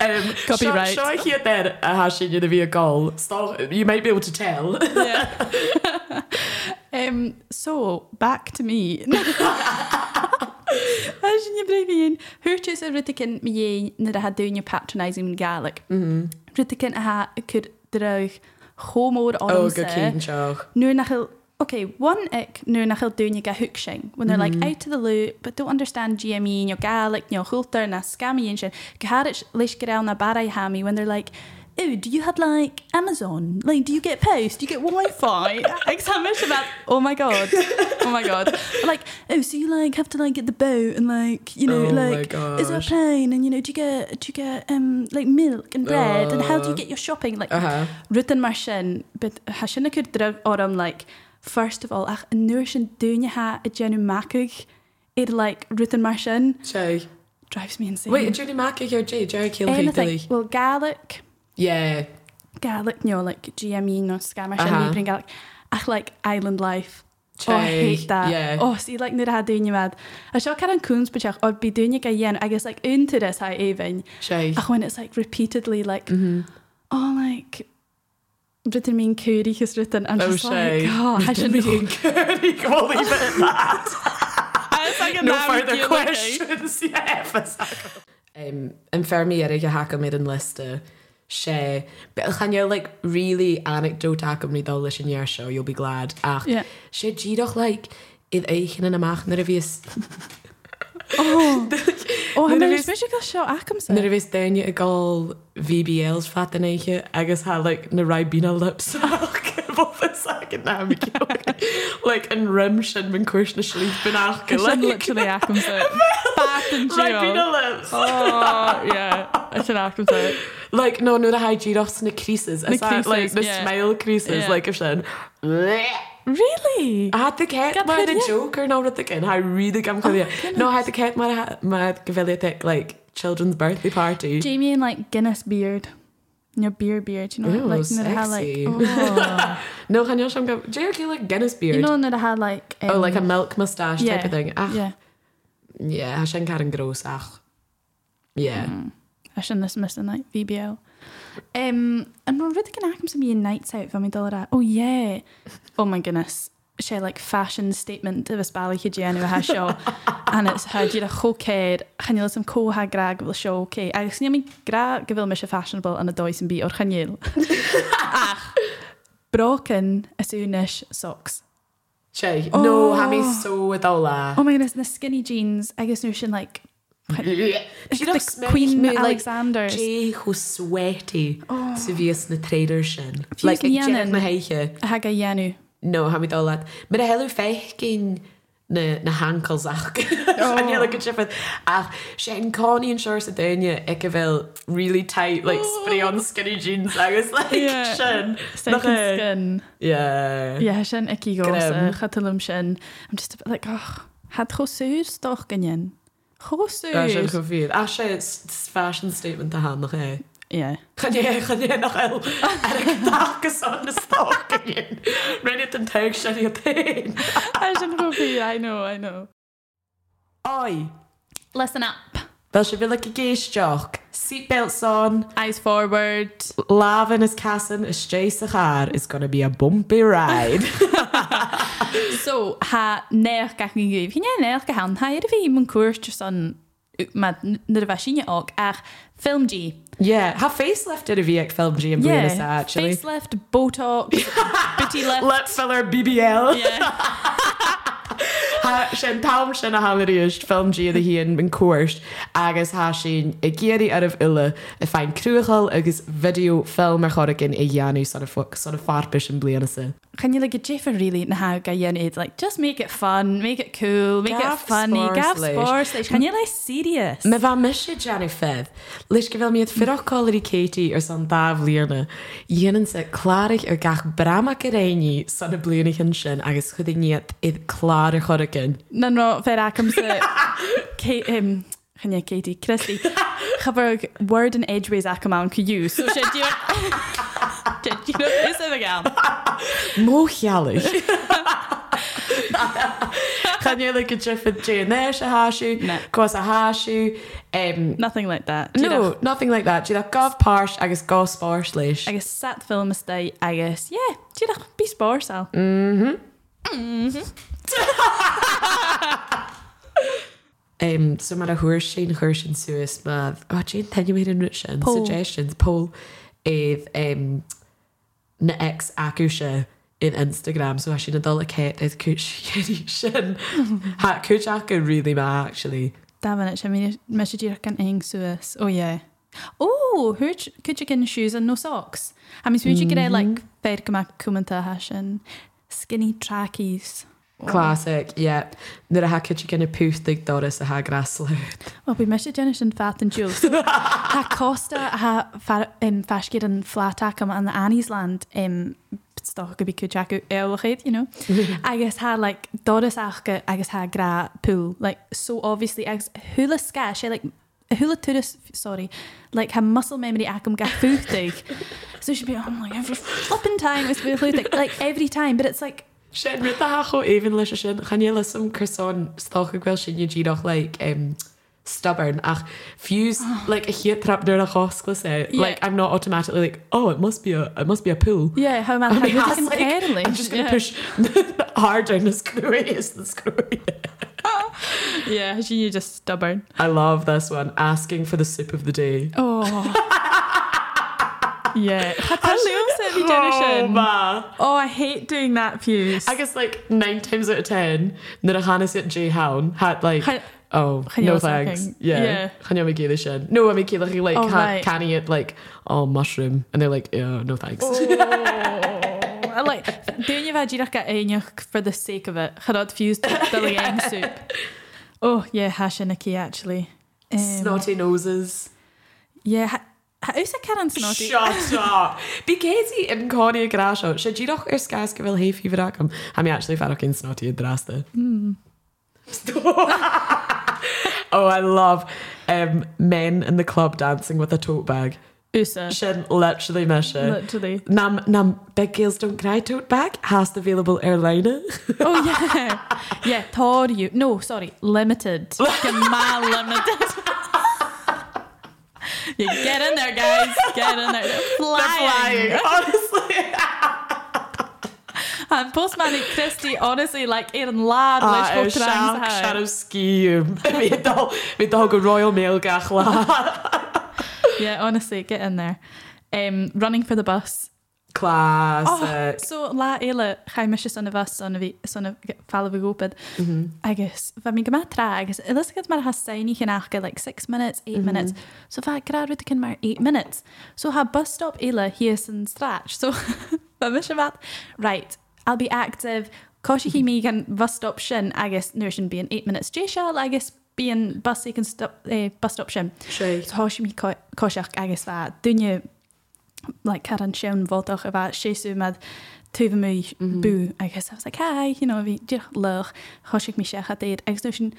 [SPEAKER 1] Um,
[SPEAKER 2] Copyright.
[SPEAKER 1] Show, show here then uh, has she going to be a goal? So you might be able to
[SPEAKER 2] [laughs]
[SPEAKER 1] tell.
[SPEAKER 2] Yeah. um, so, back to
[SPEAKER 1] [laughs]
[SPEAKER 2] me. Als je niet blijft heen. Hurt is er te gaan heen naar de hadoenje patronizing gaelic.
[SPEAKER 1] Mm-hmm.
[SPEAKER 2] Rut ik in ha could druig homo or
[SPEAKER 1] Oh, good keen show.
[SPEAKER 2] nu nach heel Okay, one ick nu nach heel doen je ga hooksing. When they're
[SPEAKER 1] Mm-hmm.
[SPEAKER 2] like out of the loop, but don't understand E, GME and your Gaelic and your Hulter and a scammy and shit. Gaharich lishkarel na barai hami when they're like, oh, do you have like Amazon? Like, do you get post? Do you get Wi-Fi? [laughs] Examish about, oh my god, oh my god. Like, oh, so you like have to like get the boat and like, you know,
[SPEAKER 1] Oh my
[SPEAKER 2] like, is there a
[SPEAKER 1] gosh.
[SPEAKER 2] plane? And you know, do you get, do you get um like milk and bread? and how do you
[SPEAKER 1] Uh.
[SPEAKER 2] get your shopping? Like,
[SPEAKER 1] Uh-huh.
[SPEAKER 2] Rutan mar sin, but has sin a cuir drug orm like, first of all, ach, an nuair sin dúine ha a genu macig, it like, Rutan mar sin,
[SPEAKER 1] Show.
[SPEAKER 2] drives me insane.
[SPEAKER 1] Wait, Judy Mack here, Jay, Jerry Kill
[SPEAKER 2] anything.
[SPEAKER 1] Dilly.
[SPEAKER 2] Well, Gaelic,
[SPEAKER 1] Yeah.
[SPEAKER 2] Gaelic, no, like E, GME, no, scammer sin,
[SPEAKER 1] Uh-huh.
[SPEAKER 2] uh-huh. Gaelic, ach, like, island life.
[SPEAKER 1] Jay.
[SPEAKER 2] Oh, I hate that.
[SPEAKER 1] Yeah.
[SPEAKER 2] Oh, see, like, nuair ha dúine mad. A seo car an cúns bachach, or be dúine ga yen, I guess, like, unta this ha even.
[SPEAKER 1] Shay.
[SPEAKER 2] Ach, when it's like repeatedly, like,
[SPEAKER 1] Mm. Mm-hmm.
[SPEAKER 2] oh, like, Rutan mean Cootie has written, I'm
[SPEAKER 1] Oh,
[SPEAKER 2] just like,
[SPEAKER 1] Shay. [laughs]
[SPEAKER 2] God, I shouldn't
[SPEAKER 1] Being curry. We'll leave it at that.
[SPEAKER 2] I was like,
[SPEAKER 1] no further questions. [laughs] Yeah, for sure. Um, yn ffermi ar eich hac am i'r lista sé chan you like really anecdote ac am ni ddol leis yn i'r show you'll be glad ach
[SPEAKER 2] [laughs] Yeah.
[SPEAKER 1] sé gidach like idd eich yn yn amach nyr y fys
[SPEAKER 2] Oh, oh,
[SPEAKER 1] None of
[SPEAKER 2] no, no,
[SPEAKER 1] us-
[SPEAKER 2] especially because show Atkinson.
[SPEAKER 1] nyr y fys dyn
[SPEAKER 2] [laughs]
[SPEAKER 1] i gol VBLs fat yn eich agos ha like nyr rai bina lips ac bofa sag na le an rim sin min cuair na slí bin
[SPEAKER 2] Cos sin
[SPEAKER 1] a
[SPEAKER 2] literally [laughs]
[SPEAKER 1] [laughs]
[SPEAKER 2] acham sa. Back and chill.
[SPEAKER 1] lips.
[SPEAKER 2] Oh, yeah. I should acham sa.
[SPEAKER 1] Like no nó a haidí os na creases
[SPEAKER 2] Na
[SPEAKER 1] is that, like
[SPEAKER 2] creases,
[SPEAKER 1] the
[SPEAKER 2] yeah.
[SPEAKER 1] smile creases
[SPEAKER 2] Yeah.
[SPEAKER 1] like if sin
[SPEAKER 2] Really?
[SPEAKER 1] I had the cat
[SPEAKER 2] Got
[SPEAKER 1] mar
[SPEAKER 2] that,
[SPEAKER 1] a
[SPEAKER 2] yeah.
[SPEAKER 1] joker ná rud again ha ri
[SPEAKER 2] Oh
[SPEAKER 1] gam chuile No I had the cat mar ma gofelia tech like children's birthday party.
[SPEAKER 2] Jamie in like Guinness beard. No beer beard, you know,
[SPEAKER 1] Ew,
[SPEAKER 2] like and it had like
[SPEAKER 1] sexy. [laughs]
[SPEAKER 2] oh.
[SPEAKER 1] No han sem go Jerry like Guinness beard.
[SPEAKER 2] you know, and it had like um,
[SPEAKER 1] oh like a milk mustache type
[SPEAKER 2] yeah,
[SPEAKER 1] of thing. Ach,
[SPEAKER 2] yeah.
[SPEAKER 1] yeah, ha sin kar an gros ach. ah. Yeah.
[SPEAKER 2] Mm. I shouldn't have missed a night VBL. Um, and we're really gonna happen to be a nights out for me dollar at. Oh yeah. Oh my goodness. She like fashion statement of a spally hygiene ha show and it's how you a choked chanil some co ha grag will show okay I guess me gra gavil mis fashionable and a dois and be or chanil ach broken as soon as socks
[SPEAKER 1] Che no
[SPEAKER 2] Oh.
[SPEAKER 1] ha mi so a
[SPEAKER 2] oh my goodness and the skinny jeans I guess no she like
[SPEAKER 1] dola.
[SPEAKER 2] the Queen Alexander
[SPEAKER 1] Jé ho sweaty sa vías na trader sin.
[SPEAKER 2] Fios
[SPEAKER 1] Like ag
[SPEAKER 2] ní
[SPEAKER 1] Jack
[SPEAKER 2] ann.
[SPEAKER 1] na heiche.
[SPEAKER 2] hag a yanu
[SPEAKER 1] No ha mi dola. Mit a helu fech gin na, na hankels ach. [laughs] Oh. like a chip ach sin Connie and Shores a daine ag a bhil really tight like spray on skinny jeans agus like
[SPEAKER 2] Yeah.
[SPEAKER 1] sin.
[SPEAKER 2] second
[SPEAKER 1] Nach é.
[SPEAKER 2] skin
[SPEAKER 1] Yeah.
[SPEAKER 2] Yeah, sin icí
[SPEAKER 1] Grim.
[SPEAKER 2] go chatalm sin. eh, I'm just a bit like, oh, had go suúr stoch ganin. Go
[SPEAKER 1] Tá sin
[SPEAKER 2] suúr.
[SPEAKER 1] go bhíad. A sé Ah, s- s- fashion statement a e. hána é.
[SPEAKER 2] Yeah.
[SPEAKER 1] Chané chané nach [laughs] eil ar dagus an na stáin. Rinne an teag sin a tain.
[SPEAKER 2] I sin go fi, I know, I know.
[SPEAKER 1] Oi,
[SPEAKER 2] Listen up.
[SPEAKER 1] Bel se bhfuil le go géisteach, Seatbelts on,
[SPEAKER 2] Eyes forward.
[SPEAKER 1] láhan is casan is té a char is gonna be a bumpy ride.
[SPEAKER 2] So, ha neach gach ni gyf. Hyn e'n neach gahan. Ha er fi mwyn cwrs just on ma nyr fa sy'n og ach film G.
[SPEAKER 1] yeah, ha facelift ar a bhí ag film G am yeah, actually. Face-
[SPEAKER 2] Facelift, Botox, bitty lift.
[SPEAKER 1] Lip filler BBL
[SPEAKER 2] Yeah.
[SPEAKER 1] Ha sin tam sin a hairíist film G a híon bin cuairt agus há sin i ggéirí ar ah uile i fein cruúchail agus video film ar choracin i dheanú san san a farbis an blianasa.
[SPEAKER 2] Can you like a Jeffer really na how guy you need like just make it fun, make it cool, make
[SPEAKER 1] Gaff
[SPEAKER 2] it funny,
[SPEAKER 1] spars
[SPEAKER 2] gaff
[SPEAKER 1] leis.
[SPEAKER 2] sports. Like, can you like serious?
[SPEAKER 1] Me bheit me sé Jenny fed, leis go bhfuil miad fiáirí Katie ar san dáh líana, dhéanaan sa chláirich ar gach brama go réí san na blianachan sin agus chud níiad iad chláir choracin.
[SPEAKER 2] No, no, fair
[SPEAKER 1] [laughs]
[SPEAKER 2] acum se Kate um can you Katie Christy Chaberg word and edgeways acum on could you so should you [laughs] Did you know this is again?
[SPEAKER 1] Mó cheala. Chané le go trifa dénéis a háisiú
[SPEAKER 2] Na.
[SPEAKER 1] cos a háisiú. Um,
[SPEAKER 2] Nothing like that. Do you know?
[SPEAKER 1] no, nothing like that. Si a gohpáirt agus gospáir leis.
[SPEAKER 2] I guess sat film is day, I guess. Yeah, do you know, be sports Al.
[SPEAKER 1] Um, so mar a thuair sin chuir sin suas má sin tenne méid an sin
[SPEAKER 2] Poll.
[SPEAKER 1] suggestions Paul éh um, na ex acu se in Instagram so a sin adul a cat is cúchéí sin Tá cúte acu rilí má actually.
[SPEAKER 2] Davin it, I mean mis dir gan eng suis. Oh yeah. Oh, hur could you get in shoes and no socks? I mean, would you get like fair come commenta hashin skinny trackies?
[SPEAKER 1] Classic, yeah. Nuair a ha cúte gin na púthigh doras a ha [laughs] grasluúd.
[SPEAKER 2] Well, we mis Jennish and fat and juice. ha Costa ha fa, um, fashgid and flatacum and the Annie's land um stock could be kuchaku elchid, you know.
[SPEAKER 1] [laughs]
[SPEAKER 2] I guess ha like Doris Achka, I guess ha gra pool. Like so obviously I guess hula ska, she eh, like hula tourist sorry, like her muscle memory acum ga footig. so she'd be oh my every flipping time it's footig like every time, but it's like
[SPEAKER 1] Sin ri a cho éhan leis a sin chanéile som chusán stácha bhfuil sin ddíach le um, stubborn ach fuse like a heat trap near a hospital set
[SPEAKER 2] Ah. Yeah.
[SPEAKER 1] like I'm not automatically like oh it must be a it must be a pool
[SPEAKER 2] yeah, how am I,
[SPEAKER 1] I mean, I
[SPEAKER 2] how
[SPEAKER 1] was
[SPEAKER 2] am I
[SPEAKER 1] like,
[SPEAKER 2] comparing?
[SPEAKER 1] I'm just gonna
[SPEAKER 2] yeah.
[SPEAKER 1] push [laughs] harder and the screwiest [laughs] the screwiest
[SPEAKER 2] Yeah, she you're just stubborn.
[SPEAKER 1] I love this one asking for the soup of the day
[SPEAKER 2] Oh. [laughs] yeah.
[SPEAKER 1] oh, ma.
[SPEAKER 2] Oh, I hate doing that fuse.
[SPEAKER 1] I guess like nine times out of ten na Hannes at J Hown had like
[SPEAKER 2] Cha-
[SPEAKER 1] Oh,
[SPEAKER 2] Chaneal
[SPEAKER 1] no
[SPEAKER 2] was
[SPEAKER 1] thanks.
[SPEAKER 2] talking.
[SPEAKER 1] Yeah.
[SPEAKER 2] Yeah.
[SPEAKER 1] Chaneal me gave the shed. No, I mean, like, like
[SPEAKER 2] Oh,
[SPEAKER 1] oh, [laughs]
[SPEAKER 2] right.
[SPEAKER 1] canny it like, oh, mushroom. And they're like, yeah, no thanks.
[SPEAKER 2] oh, like, Dúine bheith ddíach go éineach for the sake of it. Charád fiús
[SPEAKER 1] [laughs]
[SPEAKER 2] dohéim soup. Oh, Ó, é há sin na cí actually. Um,
[SPEAKER 1] Snotty noses.
[SPEAKER 2] Yeah, ha- ha- ús a cean snotty.
[SPEAKER 1] Shut
[SPEAKER 2] [laughs]
[SPEAKER 1] up! Because he in Connie Grasho, should you not her scars give a leaf even at him? I mean, actually, Farrah Kane snotty and drasta.
[SPEAKER 2] Hmm.
[SPEAKER 1] Stop! [laughs] oh, I love um, men in the club dancing with a tote bag.
[SPEAKER 2] Úsa.
[SPEAKER 1] Shin literally miss it.
[SPEAKER 2] Literally.
[SPEAKER 1] Nam, nam, big girls don't cry tote bag has the available airliner.
[SPEAKER 2] Oh yeah. Yeah, Toriu. No, sorry, limited. Gemma limited. You get in there, guys. Get in there. They're flying.
[SPEAKER 1] honestly.
[SPEAKER 2] And Postman Christie, honestly, like Aaron Ladd,
[SPEAKER 1] Ah,
[SPEAKER 2] uh,
[SPEAKER 1] uh,
[SPEAKER 2] Lish
[SPEAKER 1] siarc,
[SPEAKER 2] Potrang.
[SPEAKER 1] siarc [laughs] sciúm. Fi dal, fi dal go Royal Mail [laughs] gach la.
[SPEAKER 2] Yeah, honestly, get in there. Um, running for the bus. Oh,
[SPEAKER 1] Classic.
[SPEAKER 2] so lá éile chaimiise sanna bh sanna bhí sanna fallh gopad
[SPEAKER 1] Oh, Mm-hmm.
[SPEAKER 2] agus bheit mí go rá agus ilisgad mar hasaí chinach go like 6 minutes 8 minutes so bheit gradú cin mar 8 minutes so ha bus stop éile hi is an strat so [laughs] ba mu se bheit right I'll be active cóisi hí mí gan bus stop sin agus nuair sin bí an 8 minutes dé se agus bí an bus can stop eh, bus stop sin
[SPEAKER 1] Shite.
[SPEAKER 2] tá sé mí cóiseach agus bheit dunne le car an sin bhóach a bheit séú me tuh mú bú agus sa cai bhí de lech choisiic mí secha éad agus nó sin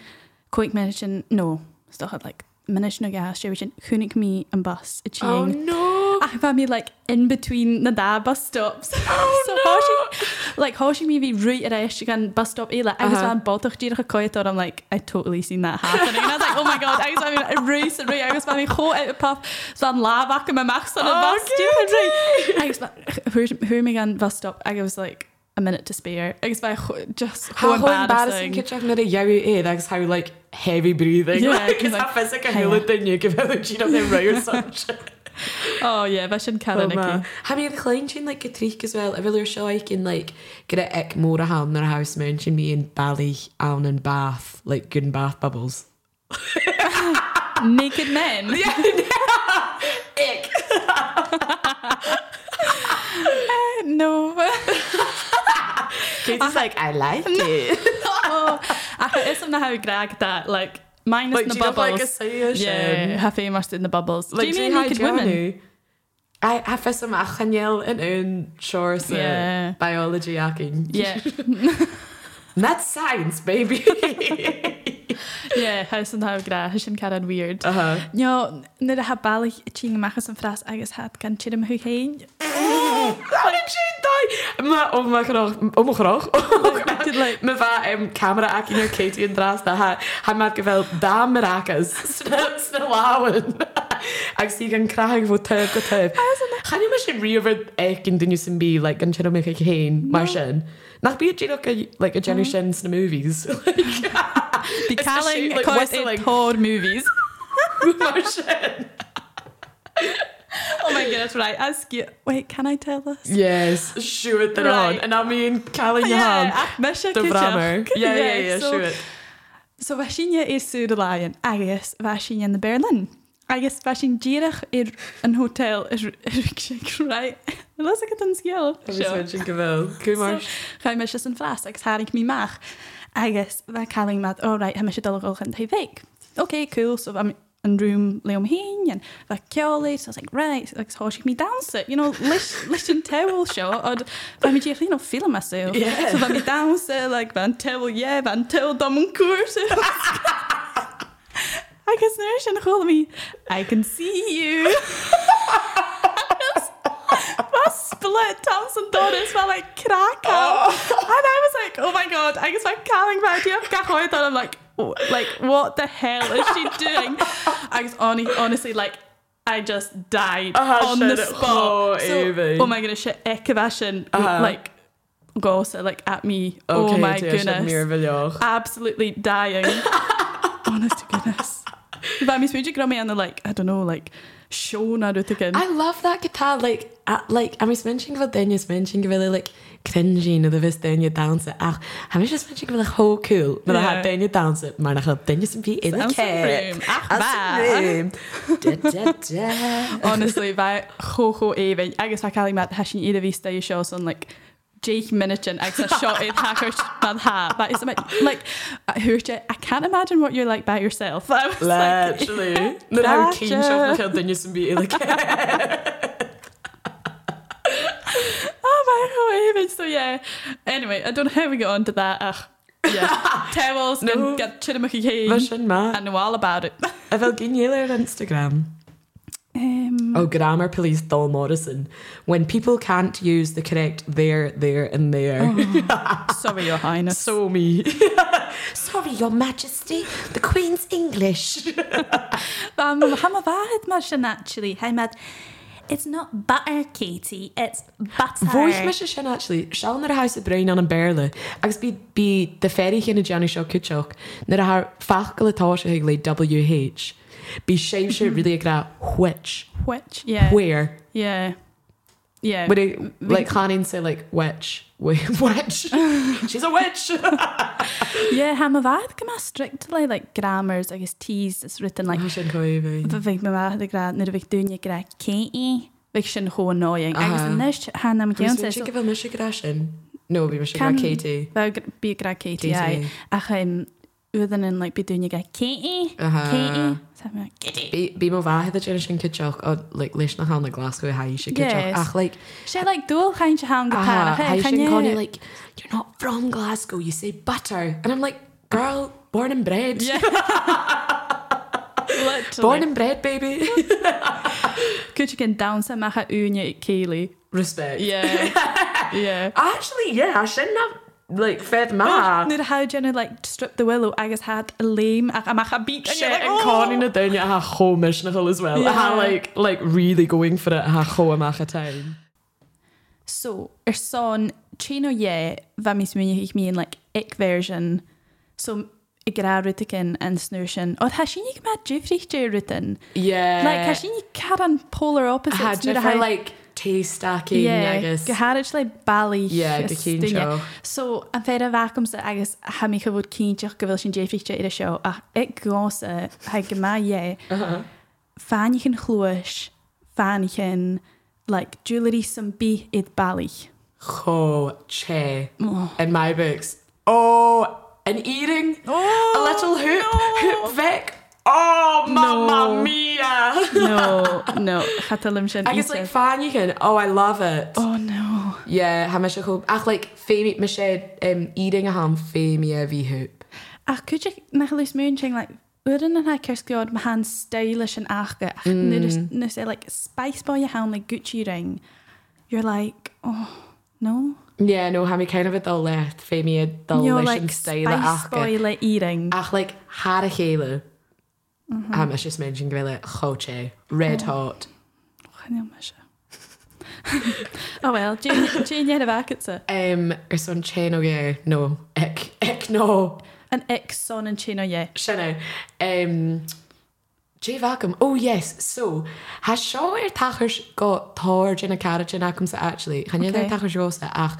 [SPEAKER 2] coig me sin nó stochad le minis na gas sé sin chunig mí an bus i
[SPEAKER 1] Oh
[SPEAKER 2] tí.
[SPEAKER 1] no.
[SPEAKER 2] Ach bheit mí le in between na dá bus
[SPEAKER 1] [laughs]
[SPEAKER 2] stops
[SPEAKER 1] Oh,
[SPEAKER 2] [laughs] le háisi mí bhí ruú a éis gan bus stop eh, éile agus
[SPEAKER 1] Uh-huh.
[SPEAKER 2] an bolach tíach a coitá am le I totally seen that happen and I was like oh my god agus bheit mí ruú ruú agus bheit mí cho i pap san lábhaach go meach san
[SPEAKER 1] Oh,
[SPEAKER 2] [laughs] bhuiir mé an bus stop agus it was like a minute to spare agus bheit cho- just
[SPEAKER 1] How
[SPEAKER 2] how
[SPEAKER 1] embarrassing
[SPEAKER 2] embarrassing
[SPEAKER 1] could you have made a yowie aid? That's how like heavy breathing.
[SPEAKER 2] Yeah,
[SPEAKER 1] like,
[SPEAKER 2] cause,
[SPEAKER 1] it's
[SPEAKER 2] like,
[SPEAKER 1] a physical
[SPEAKER 2] hey.
[SPEAKER 1] hula thing you give out the gene of the row [laughs] or such.
[SPEAKER 2] oh yeah bheit sin
[SPEAKER 1] Have
[SPEAKER 2] cean
[SPEAKER 1] you the client tune like Katrich as well? Earlier show I can like get it ek more a ham their house mention me in Bally, Allen and Bath, like good and bath bubbles.
[SPEAKER 2] naked [laughs] men
[SPEAKER 1] [laughs] Ick.
[SPEAKER 2] [laughs] no. [laughs]
[SPEAKER 1] Katie's like, I like it.
[SPEAKER 2] Oh, ach, is am na ha graag dat like minus
[SPEAKER 1] Like,
[SPEAKER 2] in the
[SPEAKER 1] do you have,
[SPEAKER 2] bubbles.
[SPEAKER 1] like, a solution?
[SPEAKER 2] yeah, ha fé mar in the bubbles.
[SPEAKER 1] Like,
[SPEAKER 2] do you
[SPEAKER 1] see
[SPEAKER 2] mean
[SPEAKER 1] how
[SPEAKER 2] naked
[SPEAKER 1] Johnny-
[SPEAKER 2] women?
[SPEAKER 1] I I fes yma achaniel yn yn shores
[SPEAKER 2] Yeah.
[SPEAKER 1] yeah. biology acting.
[SPEAKER 2] [laughs] Yeah,
[SPEAKER 1] That's science, baby.
[SPEAKER 2] yeah, huis an ha gra sin kar an weird.
[SPEAKER 1] [laughs] uh-huh.
[SPEAKER 2] Jo nu a ha balig tí machchas an fras agus hat gan tí am hu
[SPEAKER 1] [laughs]
[SPEAKER 2] héin.
[SPEAKER 1] How did you die? oh Mae o mae chroch, o mae chroch.
[SPEAKER 2] Did like
[SPEAKER 1] Mae fa um, camera ac un o'r Katie yn dras da ha. Ha mae'r gyfel da maracas. [laughs] Sna lawn. [laughs] Ac sy'n gan crag fo tef go tef. Chan i'n mysyn rhywbeth ec yn dyn nhw sy'n bi, like, yn chyrwm eich eich hen, mae'r sy'n. Nach byd jyn o'ch, like, a Jenny Shin's in the [laughs] movies.
[SPEAKER 2] be
[SPEAKER 1] It's a
[SPEAKER 2] calling
[SPEAKER 1] shoot, like, whistling.
[SPEAKER 2] tor
[SPEAKER 1] [laughs]
[SPEAKER 2] movies.
[SPEAKER 1] mae'r sy'n.
[SPEAKER 2] Oh my goodness, right. Ask you. Wait, can I tell this?
[SPEAKER 1] Yes, sure it on.
[SPEAKER 2] Right.
[SPEAKER 1] And I mean, Callie Johan.
[SPEAKER 2] Yeah, ach, mis
[SPEAKER 1] The Brammer. [laughs] Yeah, yeah, yeah, sure it.
[SPEAKER 2] So Vashinya is Sue Lion, agus Vashinya in the Berlin. Agus Vashin Jirach ir an hotel [laughs] ir Rikshik, right? [laughs] Lys ag yn sgil.
[SPEAKER 1] Sure. Kumar.
[SPEAKER 2] Chai mae sys yn ffras, agus harig mi mach. Agus fe caling mad, o rai, hymys i dolgol yn tei feig. Ok, cool, so I'm yn rŵm le o'm hyn, yn fe ceoli, so I was like, right, so like, hosig mi dawns it, you know, lish, lish yn tewl sio, ond fe mi ddech chi'n o ffilm a syw.
[SPEAKER 1] Yeah.
[SPEAKER 2] So fe mi dawns it, like, fe'n tewl, yeah, fe'n tewl dom yn cwrs. Agus nir sy'n chwl mi, I can see you. [laughs] That split Thompson Donuts felt like crack
[SPEAKER 1] Oh!
[SPEAKER 2] up. And I was like, oh my god, I guess I'm calling my idea of Gahoy. And I'm like, oh, like, what the hell is she doing? I was on, honestly like, I just died
[SPEAKER 1] Uh-huh,
[SPEAKER 2] on the
[SPEAKER 1] shit,
[SPEAKER 2] spot.
[SPEAKER 1] oh,
[SPEAKER 2] so,
[SPEAKER 1] Evie.
[SPEAKER 2] oh my goodness, shit, Ekavashin,
[SPEAKER 1] Uh-huh.
[SPEAKER 2] like, goes like at me. oh my goodness. Absolutely dying. Honest to goodness. But I mean, Smoochie Grummy and they're like, I don't know, like, show Naruto again.
[SPEAKER 1] I love that guitar. Like, I, like I was mentioning about then you mentioning really like cringy no the best then you dance it. Ach, I Ah, was just mentioning really how cool. But I
[SPEAKER 2] Yeah.
[SPEAKER 1] had then you dance it. Man, I had then you some be in the
[SPEAKER 2] Sounds
[SPEAKER 1] cake.
[SPEAKER 2] supreme. Ah, Ach, waar.
[SPEAKER 1] I'm supreme.
[SPEAKER 2] [laughs] eh, Honestly, bheit chocho éhain agus bheit caiim mat hesin iad a bhí sta seo san like Jake Minichen ex shot in [laughs] hacker ha but it's like like Hurja I can't imagine what you're like by yourself [laughs] I was
[SPEAKER 1] [laughs]
[SPEAKER 2] like,
[SPEAKER 1] Literally. Nar hawn cín
[SPEAKER 2] Gotcha.
[SPEAKER 1] seo le dunne san bí [laughs] le
[SPEAKER 2] oh my god so yeah anyway I don't know how we got onto that ugh [laughs] yeah towels
[SPEAKER 1] No.
[SPEAKER 2] no get
[SPEAKER 1] Bhí
[SPEAKER 2] chittamaki
[SPEAKER 1] sin má
[SPEAKER 2] I know all about [laughs] it
[SPEAKER 1] a bhfuil gíile ar Instagram.
[SPEAKER 2] um
[SPEAKER 1] Oh, grammar police Dol Morrison. When people can't use the correct there, there, and there.
[SPEAKER 2] Oh. sorry your highness
[SPEAKER 1] So me. [laughs] Sorry, Your Majesty, the Queen's English.
[SPEAKER 2] [laughs] Um, I'm a bad machine actually. Hey, mad. It's not butter, Katie. It's butter.
[SPEAKER 1] [laughs] Voice me sin actually Seall nar a haise brein an an béle, agus bí bí de ferri chéna Johnny seo kuteach nar a haar fachgal atá se hiag le WH. Bhí séim se ri gra which
[SPEAKER 2] Which? Yeah.
[SPEAKER 1] where
[SPEAKER 2] Yeah. Yeah.
[SPEAKER 1] would it like Hanin say like which [laughs] Wh- which she's a witch
[SPEAKER 2] yeah, I'm a bad. Come on, strictly like grammars, I guess T's, it's
[SPEAKER 1] [laughs]
[SPEAKER 2] written like.
[SPEAKER 1] sin choibh.
[SPEAKER 2] But like my bad, the grad, nid big dunya grad, Katie. Big e, shin ho annoying. I guess
[SPEAKER 1] Uh-huh.
[SPEAKER 2] in this, han am
[SPEAKER 1] Can
[SPEAKER 2] going
[SPEAKER 1] you
[SPEAKER 2] to.
[SPEAKER 1] give a Michigan ration? No, we must
[SPEAKER 2] Can-
[SPEAKER 1] have Katie.
[SPEAKER 2] Well, be grad Katie, aye.
[SPEAKER 1] Katie.
[SPEAKER 2] Ach, um, Udan and like be dunya grad, Katie.
[SPEAKER 1] Uh-huh.
[SPEAKER 2] Katie. e, So I'm like, Katie.
[SPEAKER 1] Bí má bhaithe a tear sin cuteach ó oh, like, leis na hána Glasgow ha se
[SPEAKER 2] Yes.
[SPEAKER 1] cuteach ach ah, like,
[SPEAKER 2] She like dual kind of hang
[SPEAKER 1] ah, ha sin Connie
[SPEAKER 2] pan.
[SPEAKER 1] like you're not from Glasgow you say butter and I'm like girl born and bred
[SPEAKER 2] Yeah. Literally.
[SPEAKER 1] [laughs] born and bred baby [laughs]
[SPEAKER 2] Could you get down some macha unia
[SPEAKER 1] [laughs]
[SPEAKER 2] Kaylee?
[SPEAKER 1] respect
[SPEAKER 2] Yeah. yeah.
[SPEAKER 1] actually yeah I shouldn't have like fed [laughs] ma
[SPEAKER 2] Nid how Jenna like strip the willow agus had a lame ach a macha beat
[SPEAKER 1] shit and Connie na dunya ha ho mishnachol as well ha
[SPEAKER 2] "Oh." Yeah.
[SPEAKER 1] like like really going for it ha ho amach a time
[SPEAKER 2] So er son chino ye va mis munia ich mean like ik version. So i gra rutikin and snursion. Od hashinik mad jifrich jay rutin.
[SPEAKER 1] yeah
[SPEAKER 2] Like hashinik karan polar opposites.
[SPEAKER 1] had
[SPEAKER 2] nuair a
[SPEAKER 1] different
[SPEAKER 2] haghaidh-
[SPEAKER 1] like taste stacking yeah, I
[SPEAKER 2] yeah,
[SPEAKER 1] guess
[SPEAKER 2] go háid le bailí
[SPEAKER 1] Yeah, go cinn seo.
[SPEAKER 2] So an féidir a bhacham sa agus haimicha bhd cínteach go bhfuil sin déifrite idir seo ach ag gása ha go maié fáinichin chluis fáinichin le jewellery san bí iad bailí.
[SPEAKER 1] Cho che in my books. Oh, an eating.
[SPEAKER 2] Oh,
[SPEAKER 1] a little hoop, hoop Vic. Oh, mamma
[SPEAKER 2] No.
[SPEAKER 1] mia.
[SPEAKER 2] No, no, chatalim sin
[SPEAKER 1] I guess like fan you can. Oh, I love it.
[SPEAKER 2] Oh no.
[SPEAKER 1] Yeah, how much I hope. Ach, like fame, Michelle, um, eating a ham, fame, yeah, v hoop.
[SPEAKER 2] Ach chuide nach lís mún sin le uan an ceirceád ma han stylish an acha nu sé le spiceá a hán le Gucci ring. You're like, oh no.
[SPEAKER 1] Yeah, no, how me kind of a dull left, fame, yeah, dull
[SPEAKER 2] You're
[SPEAKER 1] lish
[SPEAKER 2] like
[SPEAKER 1] and style at Achka.
[SPEAKER 2] spiceboy le eating.
[SPEAKER 1] Ach, like, had a halo.
[SPEAKER 2] Mm-hmm.
[SPEAKER 1] How much just mentioned, Gwilla, cho che,
[SPEAKER 2] Oh.
[SPEAKER 1] red hot.
[SPEAKER 2] Chanil me se. [laughs] Oh well, Jane a bhacatsa.
[SPEAKER 1] Um, or some chain, oh yeah, no, ick, ick, no.
[SPEAKER 2] An ex son an chino ye.
[SPEAKER 1] Sinna. Um, Jay Vacum. Oh, yes. So, has Shaw ir tachers got Thorge in a carriage in Acumsa actually? Can you okay.
[SPEAKER 2] Okay.
[SPEAKER 1] tachers rosa? Ach,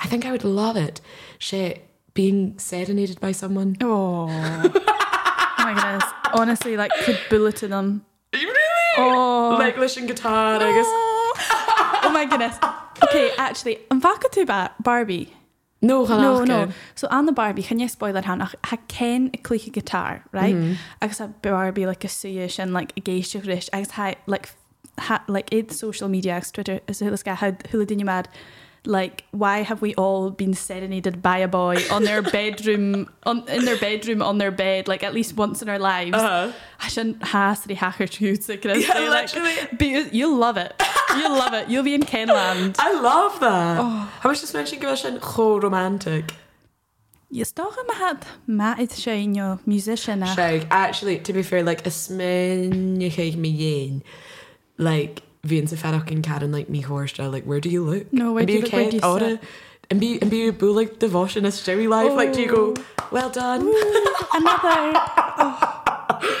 [SPEAKER 1] I think I would love it. She being serenaded by someone.
[SPEAKER 2] Oh. oh my goodness. Honestly, like could bulletin them.
[SPEAKER 1] Really?
[SPEAKER 2] Oh.
[SPEAKER 1] Like listen guitar, I guess.
[SPEAKER 2] oh. oh my goodness. Okay, actually, an bhacatú ba Barbie.
[SPEAKER 1] No,
[SPEAKER 2] No, no. So an na Barbie chenne spoiler han ach ha cén i clícha gitar, right?
[SPEAKER 1] Mm-hmm.
[SPEAKER 2] Mm -hmm. Agus a Barbie like a suúis an like a géiste ris agus ha like ha like id social media agus Twitter is hula ga hula dinne mad like why have we all been serenaded by a boy on
[SPEAKER 1] [laughs]
[SPEAKER 2] their bedroom on in their bedroom on their bed like at least once in our lives
[SPEAKER 1] Uh-huh.
[SPEAKER 2] I shouldn't has the hacker truth like,
[SPEAKER 1] Yeah,
[SPEAKER 2] like
[SPEAKER 1] literally.
[SPEAKER 2] be, you'll love it you'll love it you'll be in
[SPEAKER 1] [laughs]
[SPEAKER 2] Kenland
[SPEAKER 1] I love that. Oh. I was just mentioning Grishin, oh, romantic.
[SPEAKER 2] You stoch yma had ma id sein o musician a
[SPEAKER 1] Shag. Actually, to be fair, like, is minnig me yin. Like, fi'n sy'n fedach yn Karen, like, mi horstra, like, where do you look?
[SPEAKER 2] No, where
[SPEAKER 1] And
[SPEAKER 2] do you
[SPEAKER 1] be
[SPEAKER 2] look, where do you
[SPEAKER 1] okay, order. And be, and be a boo, like, devotion is Jerry life. Like, do you go, well done,
[SPEAKER 2] another
[SPEAKER 1] [laughs]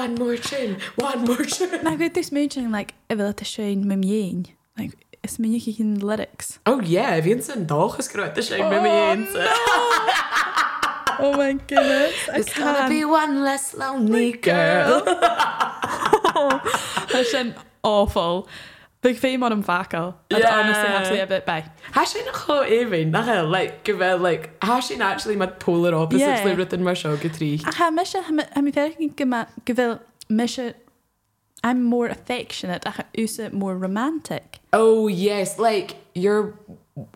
[SPEAKER 1] one more chin, one more chin.
[SPEAKER 2] na gwyd dys mynd sy'n like y fel at y sein mym iein like ys mynd i'ch chi'n lyrics
[SPEAKER 1] Oh, yeah, fi'n sy'n doch ysgrifennu dy sy'n mynd i yin.
[SPEAKER 2] oh my goodness I
[SPEAKER 1] It's gonna be one less [laughs] lonely girl.
[SPEAKER 2] that's an awful Big fé mar an facal
[SPEAKER 1] Yeah.
[SPEAKER 2] honestly a bit bei.
[SPEAKER 1] Has sin nach cho éhín nach he le go bheith le há sin actually mad polar opposites
[SPEAKER 2] Yeah.
[SPEAKER 1] le rutin mar seo go trí.
[SPEAKER 2] A ha me se ha mi fer go bhfuil me se I'm more affectionate a ús it more romantic.
[SPEAKER 1] Oh yes, like your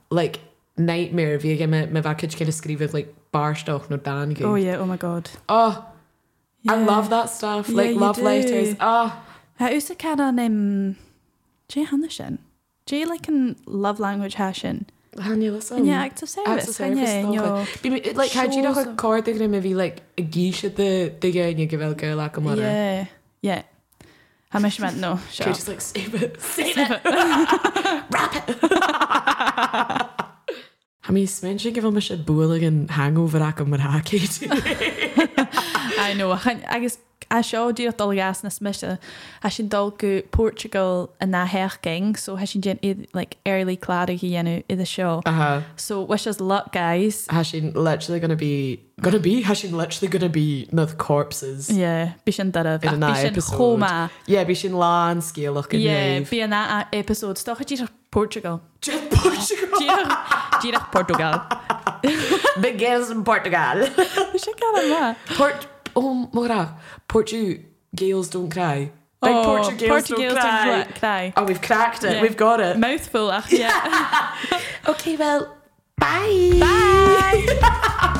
[SPEAKER 1] like nightmare bhí aige me bhaid cin scríbh le barstoch nó dan go.
[SPEAKER 2] yeah, oh my god.
[SPEAKER 1] Oh, I
[SPEAKER 2] Yeah.
[SPEAKER 1] love that stuff.
[SPEAKER 2] Yeah,
[SPEAKER 1] Like
[SPEAKER 2] you
[SPEAKER 1] love
[SPEAKER 2] do.
[SPEAKER 1] letters. Oh,
[SPEAKER 2] Ha ús a can an um, Jé hanne sin. Jé like an love language hasin.
[SPEAKER 1] Hanni listen.
[SPEAKER 2] Um, yeah, acts of service.
[SPEAKER 1] acts of service
[SPEAKER 2] yeah,
[SPEAKER 1] stuff,
[SPEAKER 2] yeah.
[SPEAKER 1] Bí mi- Like had you know
[SPEAKER 2] Shows
[SPEAKER 1] a
[SPEAKER 2] of-
[SPEAKER 1] cord they're gonna maybe like a geisha the the guy and you give a girl like a mother.
[SPEAKER 2] Yeah, yeah. Ha me se meant no.
[SPEAKER 1] Could just like save it, [laughs] save it,
[SPEAKER 2] Save
[SPEAKER 1] wrap it. I mean, smention give him a shit bowling and hangover ac yn mynd
[SPEAKER 2] [laughs]
[SPEAKER 1] haki.
[SPEAKER 2] [laughs] I know chan- agus a seo dtíocht dul gas na smise a sin dul go Portugal a na heking so he sin gin iad- like early cláda hí ennu i a seo
[SPEAKER 1] Uh-huh.
[SPEAKER 2] so wish us luck guys
[SPEAKER 1] Hashin literally gonna be, gonna be, Hashin literally gonna be with corpses. Yeah,
[SPEAKER 2] yeah bí sin darah
[SPEAKER 1] In an
[SPEAKER 2] bí sin
[SPEAKER 1] episode.
[SPEAKER 2] choma
[SPEAKER 1] yeah be sin lan, scale ac yn
[SPEAKER 2] yeah
[SPEAKER 1] yeah,
[SPEAKER 2] bí an na episode stocha dtíoch Portugal
[SPEAKER 1] Just [laughs] Portugal.
[SPEAKER 2] Díoch Portugal
[SPEAKER 1] Big games in Portugal.
[SPEAKER 2] sé gan má
[SPEAKER 1] Port oh Mora, Portu Gales don't cry. Big oh, Portu Gales don't cry.
[SPEAKER 2] cry
[SPEAKER 1] Oh, we've cracked it.
[SPEAKER 2] Yeah.
[SPEAKER 1] We've got it.
[SPEAKER 2] mouthful ach yeah
[SPEAKER 1] Okay, well, bye. Bye.